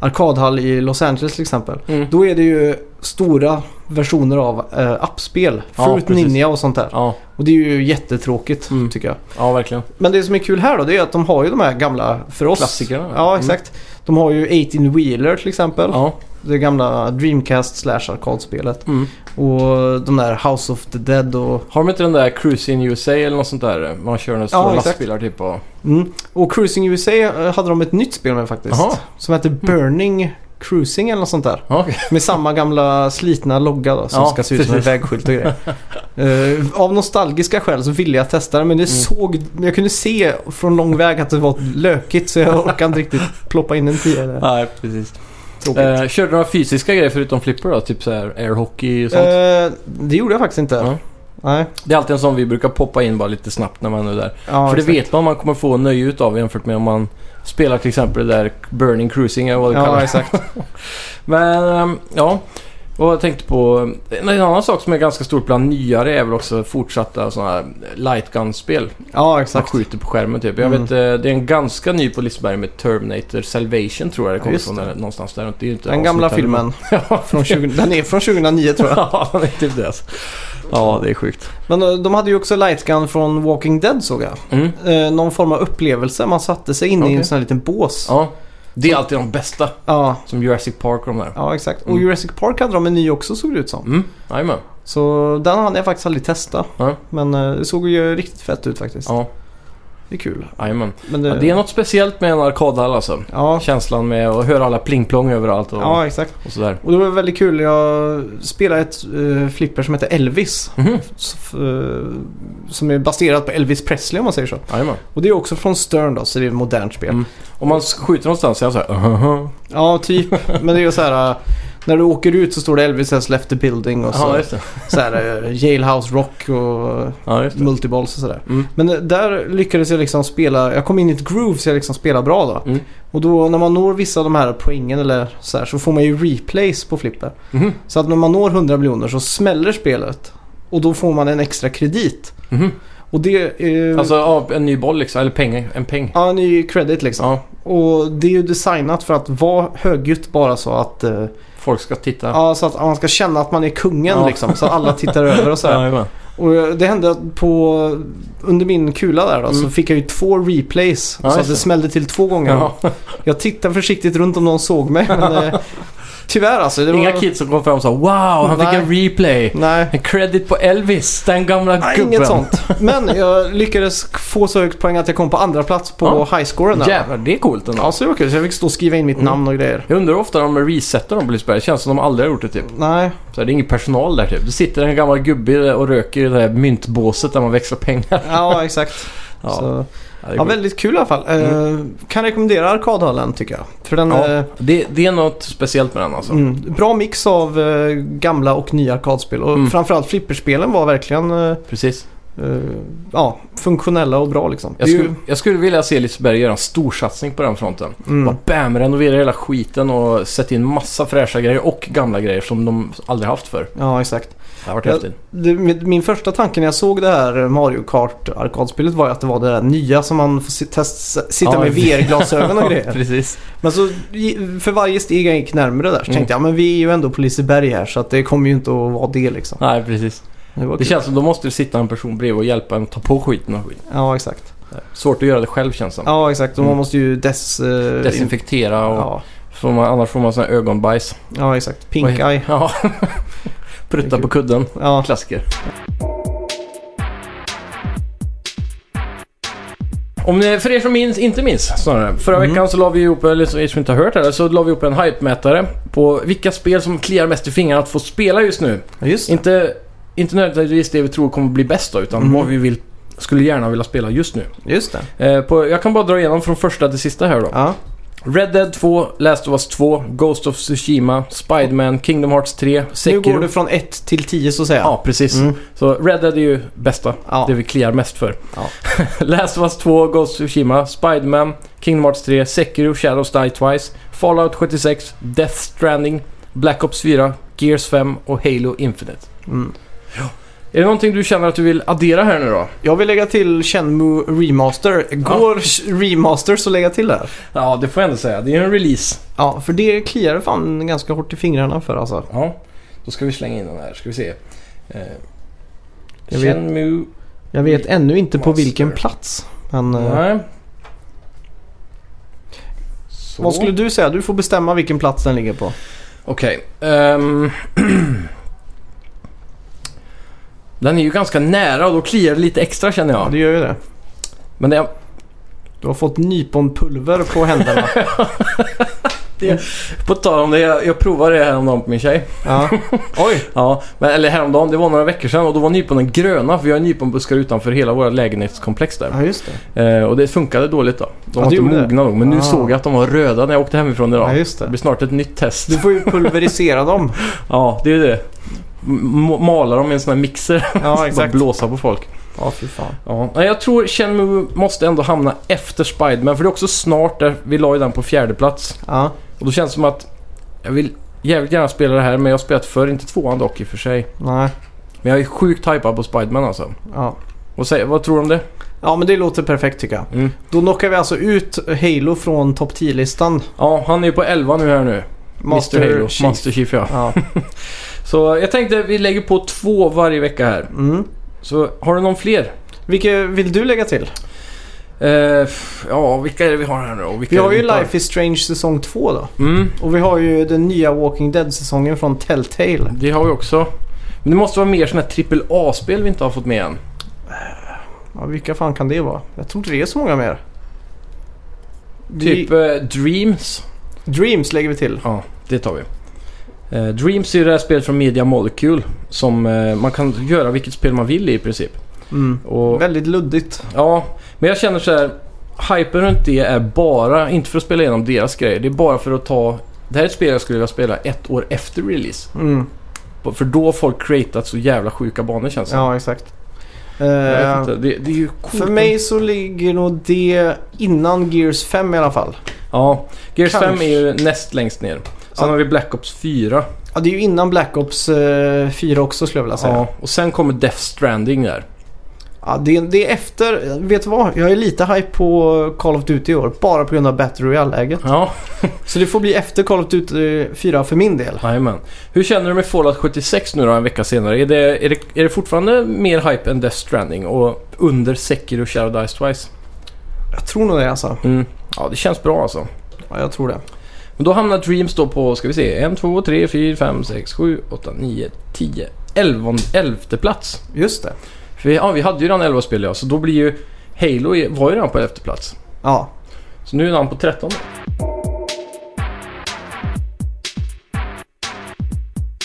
[SPEAKER 2] arkadhall i Los Angeles till exempel.
[SPEAKER 1] Mm.
[SPEAKER 2] Då är det ju stora versioner av eh, appspel.
[SPEAKER 1] Ja,
[SPEAKER 2] Fruit
[SPEAKER 1] precis.
[SPEAKER 2] Ninja och sånt där.
[SPEAKER 1] Ja,
[SPEAKER 2] Och det är ju jättetråkigt
[SPEAKER 1] Mm.
[SPEAKER 2] tycker jag.
[SPEAKER 1] ja, verkligen.
[SPEAKER 2] Men det som är kul här då det är att de har ju de här gamla för oss.
[SPEAKER 1] Klassikerna.
[SPEAKER 2] Ja, exakt. De har ju 18 Wheeler till exempel.
[SPEAKER 1] Ja,
[SPEAKER 2] Det gamla Dreamcast slash arkadspelet.
[SPEAKER 1] mm.
[SPEAKER 2] Och de där House of the Dead och...
[SPEAKER 1] Har de inte den där Cruise in USA eller något sånt där? eh, Man kör några stora
[SPEAKER 2] exakt.
[SPEAKER 1] lastbilar typ och...
[SPEAKER 2] Mm. Och Cruising USA eh, hade de ett nytt spel med faktiskt.
[SPEAKER 1] Jaha.
[SPEAKER 2] Som heter Burning Cruising eller något sånt där.
[SPEAKER 1] Ja, okej.
[SPEAKER 2] Med samma gamla slitna logga då, som
[SPEAKER 1] Ja,
[SPEAKER 2] ska se ut som en
[SPEAKER 1] precis.
[SPEAKER 2] vägskylt och grejer. Eh, av nostalgiska skäl så ville jag testa det men det
[SPEAKER 1] Mm.
[SPEAKER 2] såg, jag kunde se från lång väg att det var lökigt så jag orkade inte riktigt ploppa in en tia. där.
[SPEAKER 1] Nej, precis.
[SPEAKER 2] Tråkigt.
[SPEAKER 1] Eh, körde du några fysiska grejer förutom flipper då? Typ så här airhockey och sånt?
[SPEAKER 2] Eh, det gjorde jag faktiskt inte.
[SPEAKER 1] Ja.
[SPEAKER 2] Nej.
[SPEAKER 1] Det är alltid en sån vi brukar poppa in bara lite snabbt när man är där.
[SPEAKER 2] Ja,
[SPEAKER 1] För det
[SPEAKER 2] exakt.
[SPEAKER 1] vet man man kommer få nöje utav jämfört med om man spelar till exempel det där Burning Cruising eller vad du kallar
[SPEAKER 2] Ja,
[SPEAKER 1] det.
[SPEAKER 2] exakt.
[SPEAKER 1] Men ehm, ja, Och jag tänkte på en en annan sak som är ganska stort bland nyare är väl också fortsatta sådana här light gun-spel.
[SPEAKER 2] Ja,
[SPEAKER 1] Man
[SPEAKER 2] exakt.
[SPEAKER 1] skjuter på skärmen typ. Jag
[SPEAKER 2] Mm.
[SPEAKER 1] vet, eh, det är en ganska ny på Liseberg med Terminator Salvation tror jag det kommer
[SPEAKER 2] Just
[SPEAKER 1] från.
[SPEAKER 2] det.
[SPEAKER 1] Eller, någonstans där. Det är ju inte
[SPEAKER 2] Den gamla
[SPEAKER 1] avslutad.
[SPEAKER 2] filmen.
[SPEAKER 1] ja,
[SPEAKER 2] Från 20, den är från 2009 tror jag.
[SPEAKER 1] ja, det är typ det. alltså. Ja, det är sjukt.
[SPEAKER 2] Men eh, de hade ju också Lightgun från Walking Dead såg jag.
[SPEAKER 1] Mm.
[SPEAKER 2] Eh, någon form av upplevelse. Man satte sig inne i
[SPEAKER 1] Okej.
[SPEAKER 2] en sån här liten bås.
[SPEAKER 1] Ja. Det är alltid de bästa.
[SPEAKER 2] Ja,
[SPEAKER 1] Som Jurassic Park och de där.
[SPEAKER 2] ja exakt. Och
[SPEAKER 1] Mm.
[SPEAKER 2] Jurassic Park hade de en ny också såg det ut som.
[SPEAKER 1] Mm, jajamän.
[SPEAKER 2] Så den hade jag faktiskt aldrig testat.
[SPEAKER 1] Ja.
[SPEAKER 2] Men eh, det såg ju riktigt fett ut faktiskt.
[SPEAKER 1] Ja,
[SPEAKER 2] Det är kul.
[SPEAKER 1] jajamän.
[SPEAKER 2] Men det,
[SPEAKER 1] Ja, det är något speciellt med en arkadhall alltså.
[SPEAKER 2] ja,
[SPEAKER 1] Känslan med att höra alla plingplong överallt och,
[SPEAKER 2] ja, exakt.
[SPEAKER 1] och sådär.
[SPEAKER 2] Och det var väldigt kul. Jag spelade ett eh, flipper som heter Elvis.
[SPEAKER 1] Mhm,
[SPEAKER 2] S- f- eh, som är baserat på Elvis Presley om man säger så.
[SPEAKER 1] Jajamän.
[SPEAKER 2] Och det är också från Stern då, så det är ett modernt spel.
[SPEAKER 1] Mm. Om man skjuter någonstans så är jag såhär uh-huh.
[SPEAKER 2] Ja, typ. Men det är ju så här... eh, När du åker ut så står det Elvis has left the building och så,
[SPEAKER 1] Ja, just det.
[SPEAKER 2] så här, eh, Jailhouse Rock och eh,
[SPEAKER 1] Ja, just det.
[SPEAKER 2] Multiballs och sådär.
[SPEAKER 1] Mm.
[SPEAKER 2] Men eh, där lyckades jag liksom spela, jag kom in i ett groove så jag liksom spelade bra då.
[SPEAKER 1] Mm.
[SPEAKER 2] Och då när man når vissa av de här poängen eller så här så får man ju replays på flipper.
[SPEAKER 1] Mhm,
[SPEAKER 2] Så att när man når 100 miljoner så smäller spelet och då får man en extra kredit.
[SPEAKER 1] mhm.
[SPEAKER 2] Och det är...
[SPEAKER 1] Alltså ja, en ny boll liksom, eller pengar, en peng.
[SPEAKER 2] Ja, en ny credit liksom.
[SPEAKER 1] Ja,
[SPEAKER 2] Och det är ju designat för att vara högljutt bara så att... eh,
[SPEAKER 1] folk ska titta.
[SPEAKER 2] Ja, så att man ska känna att man är kungen
[SPEAKER 1] Ja.
[SPEAKER 2] liksom. Så att alla tittar över och så här.
[SPEAKER 1] Jajamän.
[SPEAKER 2] Och eh, det hände att på... Under min kula där då så
[SPEAKER 1] Mm.
[SPEAKER 2] fick jag ju två replays.
[SPEAKER 1] Ja,
[SPEAKER 2] så att
[SPEAKER 1] just
[SPEAKER 2] det
[SPEAKER 1] det.
[SPEAKER 2] smällde till två gånger.
[SPEAKER 1] Ja.
[SPEAKER 2] Jag tittade försiktigt runt om någon såg mig men... eh, tyvärr alltså. Det var...
[SPEAKER 1] Inga kids som kom fram och sa wow, han fick
[SPEAKER 2] Nej.
[SPEAKER 1] en replay.
[SPEAKER 2] Nej.
[SPEAKER 1] En credit på Elvis, den gamla
[SPEAKER 2] Nej,
[SPEAKER 1] gubben.
[SPEAKER 2] inget sånt. Men jag lyckades få så högt poäng att jag kom på andra plats på
[SPEAKER 1] Ja.
[SPEAKER 2] highscoren där.
[SPEAKER 1] Jävlar, det är coolt ändå.
[SPEAKER 2] Ja, så det var kul. Så jag fick stå och skriva in mitt
[SPEAKER 1] Mm.
[SPEAKER 2] namn och grejer.
[SPEAKER 1] Jag undrar hur ofta de resetar dem på Liseberg. Det känns som de aldrig har gjort det typ.
[SPEAKER 2] Nej,
[SPEAKER 1] Så det är ingen personal där typ. Det sitter en gammal gubbe och röker i det där myntbåset där man växlar pengar.
[SPEAKER 2] ja exakt.
[SPEAKER 1] Ja,
[SPEAKER 2] Så,
[SPEAKER 1] ja, det, är
[SPEAKER 2] ja,
[SPEAKER 1] coolt.
[SPEAKER 2] väldigt kul i alla fall. Eh, kan rekommendera arkadhallen tycker jag. För den,
[SPEAKER 1] Ja.
[SPEAKER 2] eh,
[SPEAKER 1] det, det är något speciellt med den alltså.
[SPEAKER 2] mm, bra mix av eh, gamla och nya arkadspel. Och
[SPEAKER 1] Mm.
[SPEAKER 2] framförallt flipperspelen var verkligen eh,
[SPEAKER 1] Precis.
[SPEAKER 2] eh, ja, funktionella och bra liksom.
[SPEAKER 1] Jag
[SPEAKER 2] Det är
[SPEAKER 1] skulle, jag skulle vilja se Liseberg göra en storsatsning på den fronten.
[SPEAKER 2] ju, mm,
[SPEAKER 1] Bara bam, renovera hela skiten och sätta in massa fräscha grejer och gamla grejer som de aldrig haft för.
[SPEAKER 2] ja, exakt.
[SPEAKER 1] Det har varit
[SPEAKER 2] Ja.
[SPEAKER 1] häftigt.
[SPEAKER 2] Det, min min första tanke när jag såg det här Mario Kart arkadspelet var ju att det var det där nya som man får si- test, sitta
[SPEAKER 1] Ja,
[SPEAKER 2] med
[SPEAKER 1] det-
[SPEAKER 2] VR-glasögon och grejer.
[SPEAKER 1] Precis.
[SPEAKER 2] Men så i- för varje steg jag gick närmare där så
[SPEAKER 1] Mm.
[SPEAKER 2] tänkte jag men vi är ju ändå på Liseberg här så att det kommer ju inte att vara det liksom.
[SPEAKER 1] Nej, precis.
[SPEAKER 2] Det, var
[SPEAKER 1] Det
[SPEAKER 2] kul.
[SPEAKER 1] känns som då måste det sitta en person bredvid och hjälpa en att ta på skiten och skit.
[SPEAKER 2] Ja exakt.
[SPEAKER 1] Svårt att göra det själv känns det som.
[SPEAKER 2] Ja exakt och man
[SPEAKER 1] Mm.
[SPEAKER 2] måste ju des... eh,
[SPEAKER 1] Desinfektera och
[SPEAKER 2] Ja,
[SPEAKER 1] får man, annars får man sån här ögonbajs.
[SPEAKER 2] ja exakt.
[SPEAKER 1] Vad
[SPEAKER 2] Pink
[SPEAKER 1] heter-
[SPEAKER 2] eye.
[SPEAKER 1] Ja.
[SPEAKER 2] Det är
[SPEAKER 1] Prutta på
[SPEAKER 2] kul.
[SPEAKER 1] kudden.
[SPEAKER 2] Ja.
[SPEAKER 1] Klassiker. Om ni, för er som minns, inte minns snarare. Förra
[SPEAKER 2] Mm.
[SPEAKER 1] veckan så la vi ihop, eller så- er som inte har hört det här, så la vi ihop en hype-mätare på vilka spel som kliar mest i fingrarna att få spela just nu.
[SPEAKER 2] ja, just det.
[SPEAKER 1] Inte, inte nödvändigtvis det vi tror kommer bli bäst då, utan
[SPEAKER 2] Mm.
[SPEAKER 1] vad vi vill, skulle gärna vilja spela just nu.
[SPEAKER 2] Just det.
[SPEAKER 1] Eh, på, jag kan bara dra igenom från första till sista här då.
[SPEAKER 2] Ja.
[SPEAKER 1] Red Dead 2, Last of Us 2, Ghost of Tsushima, Spiderman, Kingdom Hearts 3,
[SPEAKER 2] Nu
[SPEAKER 1] Sekiro.
[SPEAKER 2] går du från 1 till 10 så att säga.
[SPEAKER 1] Ja, precis.
[SPEAKER 2] Mm.
[SPEAKER 1] Så Red Dead är ju bästa.
[SPEAKER 2] Ja.
[SPEAKER 1] Det vi kliar mest för.
[SPEAKER 2] Ja.
[SPEAKER 1] Last of Us 2, Ghost of Tsushima, Spiderman, Kingdom Hearts 3, Sekiro, Shadows Die Twice, Fallout 76, Death Stranding, Black Ops 4, Gears 5 och Halo Infinite.
[SPEAKER 2] Mm.
[SPEAKER 1] Är det någonting du känner att du vill addera här nu då?
[SPEAKER 2] Jag vill lägga till Shenmue Remaster. Går Remasters att lägga till där?
[SPEAKER 1] Ja, det får jag ändå säga. Det är ju en release.
[SPEAKER 2] Ja, för det kliar det fan ganska hårt i fingrarna för alltså.
[SPEAKER 1] Ja, då ska vi slänga in den här. Ska vi se. Eh,
[SPEAKER 2] Jag vet-
[SPEAKER 1] Shenmue...
[SPEAKER 2] Jag vet ännu inte på
[SPEAKER 1] Master.
[SPEAKER 2] vilken plats. Men eh,
[SPEAKER 1] Nej. Så.
[SPEAKER 2] vad skulle du säga? Du får bestämma vilken plats den ligger på.
[SPEAKER 1] Okej. ehm, den är ju ganska nära och då kliar det lite extra känner
[SPEAKER 2] Ja,
[SPEAKER 1] jag.
[SPEAKER 2] det gör ju det.
[SPEAKER 1] Men det,
[SPEAKER 2] Du har fått nyponpulver på händerna.
[SPEAKER 1] på tal om det, jag, jag provade det häromdagen på min tjej.
[SPEAKER 2] ja. Oj!
[SPEAKER 1] Ja, men, eller häromdagen, det var några veckor sedan och då var nyponen gröna för vi har nyponbuskar utanför hela våra lägenhetskomplex där.
[SPEAKER 2] Ja, just det.
[SPEAKER 1] Eh, och det funkade dåligt då. De
[SPEAKER 2] Ja,
[SPEAKER 1] var inte
[SPEAKER 2] det gjorde det.
[SPEAKER 1] mogna nog, men nu
[SPEAKER 2] Ah.
[SPEAKER 1] såg jag att de var röda när jag åkte hemifrån idag.
[SPEAKER 2] Ja, just
[SPEAKER 1] Det
[SPEAKER 2] det.
[SPEAKER 1] blir snart ett nytt test.
[SPEAKER 2] Du får ju pulverisera dem.
[SPEAKER 1] Ja, det är det. M- mala dem i en sån här mixer.
[SPEAKER 2] Ja,
[SPEAKER 1] Bara
[SPEAKER 2] exakt.
[SPEAKER 1] blåsa på folk.
[SPEAKER 2] Ja, fy fan.
[SPEAKER 1] Ja, nej, jag tror Shenmue måste ändå hamna efter Spiderman för det är också snart där. Vi la ju den på fjärde plats.
[SPEAKER 2] Ja,
[SPEAKER 1] Och då känns det som att jag vill jävligt gärna spela det här men jag har spelat förr, inte tvåan dock i och för sig.
[SPEAKER 2] Nej.
[SPEAKER 1] Men jag är sjukt hypad på Spiderman alltså.
[SPEAKER 2] Ja.
[SPEAKER 1] Vad, säger, vad tror du om det?
[SPEAKER 2] ja, men det låter perfekt tycker jag.
[SPEAKER 1] Mm.
[SPEAKER 2] Då knockar vi alltså ut Halo från topp 10-listan.
[SPEAKER 1] Ja, han är ju på 11 nu här nu. Master Mr. Halo.
[SPEAKER 2] Chief.
[SPEAKER 1] Master Chief ja.
[SPEAKER 2] Ja.
[SPEAKER 1] Så jag tänkte vi lägger på två varje vecka här.
[SPEAKER 2] Mm.
[SPEAKER 1] Så har du någon fler?
[SPEAKER 2] Vilka vill du lägga till?
[SPEAKER 1] Eh, f- ja, vilka är det vi har här nu då? Vilka
[SPEAKER 2] Vi
[SPEAKER 1] är
[SPEAKER 2] har
[SPEAKER 1] det
[SPEAKER 2] ju
[SPEAKER 1] tar?
[SPEAKER 2] Life is Strange säsong 2 då.
[SPEAKER 1] Mm,
[SPEAKER 2] Och vi har ju den nya Walking Dead-säsongen från Telltale.
[SPEAKER 1] det har vi också. Men det måste vara mer sådana här AAA-spel vi inte har fått med än.
[SPEAKER 2] Ja, vilka fan kan det vara? Jag tror inte det är så många mer. Det-
[SPEAKER 1] Typ eh, Dreams.
[SPEAKER 2] Dreams lägger vi till.
[SPEAKER 1] Ja, det tar vi. Eh, Dreams är ju det här spelet från Media Molecule som eh, man kan göra vilket spel man vill i, i princip.
[SPEAKER 2] Mm.
[SPEAKER 1] Och,
[SPEAKER 2] Väldigt luddigt.
[SPEAKER 1] ja, men jag känner så här. Hypen runt det är bara, inte för att spela igenom deras grejer, det är bara för att ta... Det här är ett spel jag skulle vilja spela ett år efter release.
[SPEAKER 2] Mm.
[SPEAKER 1] För då har folk creatat så jävla sjuka banor känns det
[SPEAKER 2] Ja, exakt.
[SPEAKER 1] Jag
[SPEAKER 2] Eh,
[SPEAKER 1] vet inte, det, det är ju coolt.
[SPEAKER 2] För mig så ligger nog det innan Gears 5 i alla fall.
[SPEAKER 1] Ja, Gears
[SPEAKER 2] Kanske.
[SPEAKER 1] 5 är ju näst längst ner. Sen
[SPEAKER 2] Ja.
[SPEAKER 1] har vi Black Ops 4.
[SPEAKER 2] Ja, det är ju innan Black Ops eh, 4 också skulle jag vilja säga. Ja.
[SPEAKER 1] Ja, och sen kommer Death Stranding där.
[SPEAKER 2] det, är- det är efter... Vet du vad? Jag är lite hype på Call of Duty i år. Bara på grund av Battle Royale-läget.
[SPEAKER 1] Ja,
[SPEAKER 2] Så det får bli efter Call of Duty 4 för min del.
[SPEAKER 1] jajamän. Hur känner du med Fallout 76 nu då en vecka senare? Är det, är det, är det fortfarande mer hype än Death Stranding och under Sekiro och Shadow Dice Twice?
[SPEAKER 2] Jag tror nog det alltså.
[SPEAKER 1] Mm. Ja, det känns bra alltså.
[SPEAKER 2] Ja, jag tror det.
[SPEAKER 1] Men då hamnar Dreams då på, ska vi se, 1, 2, 3, 4, 5, 6, 7, 8, 9, 10, 11, 11 plats.
[SPEAKER 2] Just det.
[SPEAKER 1] För vi, ja, vi hade ju redan 11 spel ja, så då blir ju Halo i- var ju redan på 11 plats.
[SPEAKER 2] Ja.
[SPEAKER 1] Så nu är han på 13.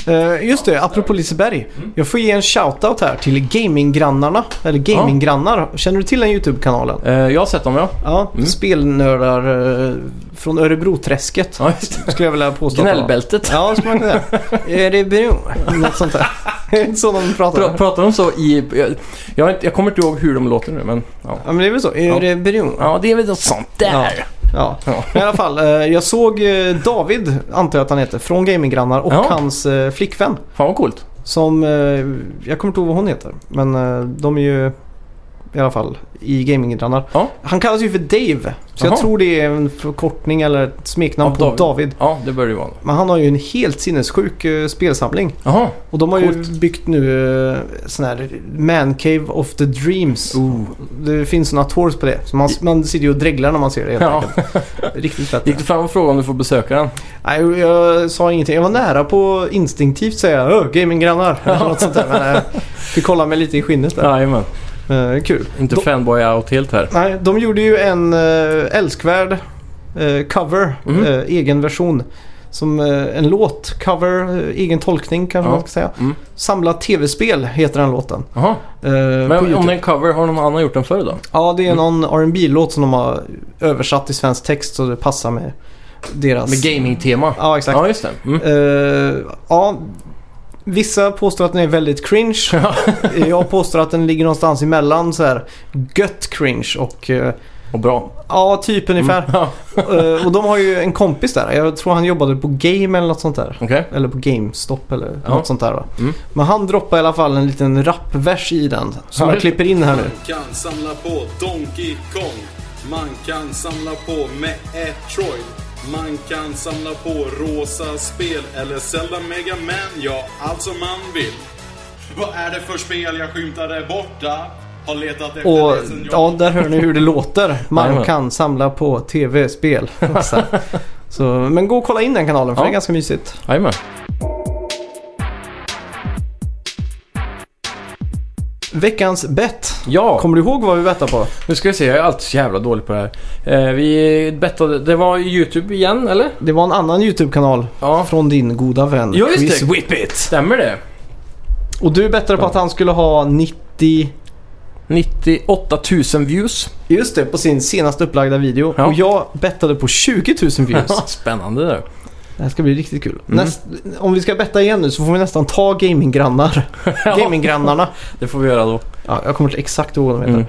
[SPEAKER 2] Eh, just det, apropå Liseberg.
[SPEAKER 1] Mm.
[SPEAKER 2] Jag får ge en shoutout här till gamingggrannarna. Eller gaminggrannar. Känner du till den YouTube-kanalen?
[SPEAKER 1] Eh, jag har sett dem ja.
[SPEAKER 2] Ja,
[SPEAKER 1] Mm.
[SPEAKER 2] spelnördar eh, från Örebroträsket.
[SPEAKER 1] Ja, just det.
[SPEAKER 2] Skulle jag vilja påstå. att de var.
[SPEAKER 1] Gnällbältet.
[SPEAKER 2] Ja, skulle man kunna säga. Örebro. Något sånt där. Det är inte så de
[SPEAKER 1] Pra-
[SPEAKER 2] pratar.
[SPEAKER 1] Pratar de så i... Jag, jag, har inte, jag kommer inte ihåg hur de låter nu men... Ja,
[SPEAKER 2] Ja, men det är väl så. Örebro.
[SPEAKER 1] ja det är väl något sånt där.
[SPEAKER 2] Ja.
[SPEAKER 1] Ja.
[SPEAKER 2] Men I alla fall, eh, jag såg eh, David, antar jag att han heter, från Gaminggrannar och
[SPEAKER 1] Ja.
[SPEAKER 2] hans eh, flickvän.
[SPEAKER 1] Fan vad coolt.
[SPEAKER 2] Som, eh, jag kommer inte ihåg vad hon heter, men eh, de är ju i alla fall i gaminggrannar.
[SPEAKER 1] Ja.
[SPEAKER 2] Han kallas ju för Dave, så
[SPEAKER 1] Jaha.
[SPEAKER 2] jag tror det är en förkortning eller ett smeknamn
[SPEAKER 1] Av
[SPEAKER 2] på
[SPEAKER 1] David.
[SPEAKER 2] David.
[SPEAKER 1] Ja, det bör det ju vara. då.
[SPEAKER 2] Men han har ju en helt sinnessjuk eh, spelsamling.
[SPEAKER 1] Jaha.
[SPEAKER 2] Och de har
[SPEAKER 1] Coolt.
[SPEAKER 2] ju byggt nu eh, sån här Man Cave of the Dreams.
[SPEAKER 1] Ooh.
[SPEAKER 2] Det finns såna tours på det. Så man, man sitter ju och dreglar när man ser det helt
[SPEAKER 1] Ja.
[SPEAKER 2] enkelt. Riktigt fett.
[SPEAKER 1] Gick du fram och frågade om du får besöka den?
[SPEAKER 2] Nej, jag- jag sa ingenting. Jag var nära på instinktivt säga "Ö, gaminggrannar. eller Något sånt där. Men eh, fick kolla mig lite i skinnet där.
[SPEAKER 1] Jajamän.
[SPEAKER 2] Eh, kul.
[SPEAKER 1] Inte
[SPEAKER 2] De-
[SPEAKER 1] fanboy out helt här.
[SPEAKER 2] Nej, de gjorde ju en eh, älskvärd eh, cover,
[SPEAKER 1] Mhm.
[SPEAKER 2] eh, egen version. Som eh, en låt, cover, eh, egen tolkning kanske
[SPEAKER 1] Ja.
[SPEAKER 2] man ska säga.
[SPEAKER 1] Mm.
[SPEAKER 2] Samla tv-spel heter den låten.
[SPEAKER 1] Jaha.
[SPEAKER 2] eh, på
[SPEAKER 1] Men om
[SPEAKER 2] YouTube. Alltså-
[SPEAKER 1] det är en cover, har någon annan gjort den förr då?
[SPEAKER 2] Ja, det är någon R&B-låt som de har översatt till svensk text så det passar med deras...
[SPEAKER 1] Med gaming-tema?
[SPEAKER 2] Ja, exakt.
[SPEAKER 1] Ja, just det. Mm.
[SPEAKER 2] Eh, ja, vissa påstår att den är väldigt cringe. jag påstår att den ligger någonstans emellan så här gött cringe och eh,
[SPEAKER 1] Och bra.
[SPEAKER 2] ja, typ
[SPEAKER 1] Mm.
[SPEAKER 2] ungefär.
[SPEAKER 1] Ja,
[SPEAKER 2] Eh, och de har ju en kompis där. Jag tror han jobbade på Game eller något sånt där.
[SPEAKER 1] Okej.
[SPEAKER 2] Eller på GameStop eller
[SPEAKER 1] Ja.
[SPEAKER 2] något sånt där va.
[SPEAKER 1] Mm.
[SPEAKER 2] Men han droppade i alla fall en liten rapvers i den. Som
[SPEAKER 1] Ja.
[SPEAKER 2] jag klipper in här nu.
[SPEAKER 4] Man kan samla på Donkey Kong. Man kan samla på Metroid. Man kan samla på rosa spel eller Zelda Mega Man. Ja, allt som man vill. Vad är det för spel jag skymtar där borta? Har letat efter
[SPEAKER 2] Och
[SPEAKER 4] det sen jag...
[SPEAKER 2] ja, där hör ni hur det låter. Man
[SPEAKER 1] Jajamän.
[SPEAKER 2] kan samla på tv-spel. Så- Så, men gå och kolla in den kanalen för
[SPEAKER 1] Ja.
[SPEAKER 2] det är ganska mysigt.
[SPEAKER 1] Jajamän.
[SPEAKER 2] Veckans bett.
[SPEAKER 1] Ja.
[SPEAKER 2] Kommer du ihåg vad vi bettade på?
[SPEAKER 1] Nu ska vi se, jag är alltid så jävla dålig på det här. Eh, vi bettade, det var YouTube igen eller?
[SPEAKER 2] Det var en annan YouTube-kanal
[SPEAKER 1] Ja.
[SPEAKER 2] från din goda vän
[SPEAKER 1] Ja, just det.
[SPEAKER 2] Chris Whippet.
[SPEAKER 1] Stämmer det?
[SPEAKER 2] Och du bettade på att han skulle ha 90...
[SPEAKER 1] 98 000 views.
[SPEAKER 2] Just det, på sin senast upplagda video.
[SPEAKER 1] Ja.
[SPEAKER 2] Och jag bettade på 20 000 views.
[SPEAKER 1] Spännande det.
[SPEAKER 2] Det här ska bli riktigt kul.
[SPEAKER 1] Mm.
[SPEAKER 2] Näst, om vi ska betta igen nu så får vi nästan ta gaminggrannar. Gaminggrannnarna.
[SPEAKER 1] Det får vi göra då.
[SPEAKER 2] Ja, jag kommer till exakt ihåg vad de heter.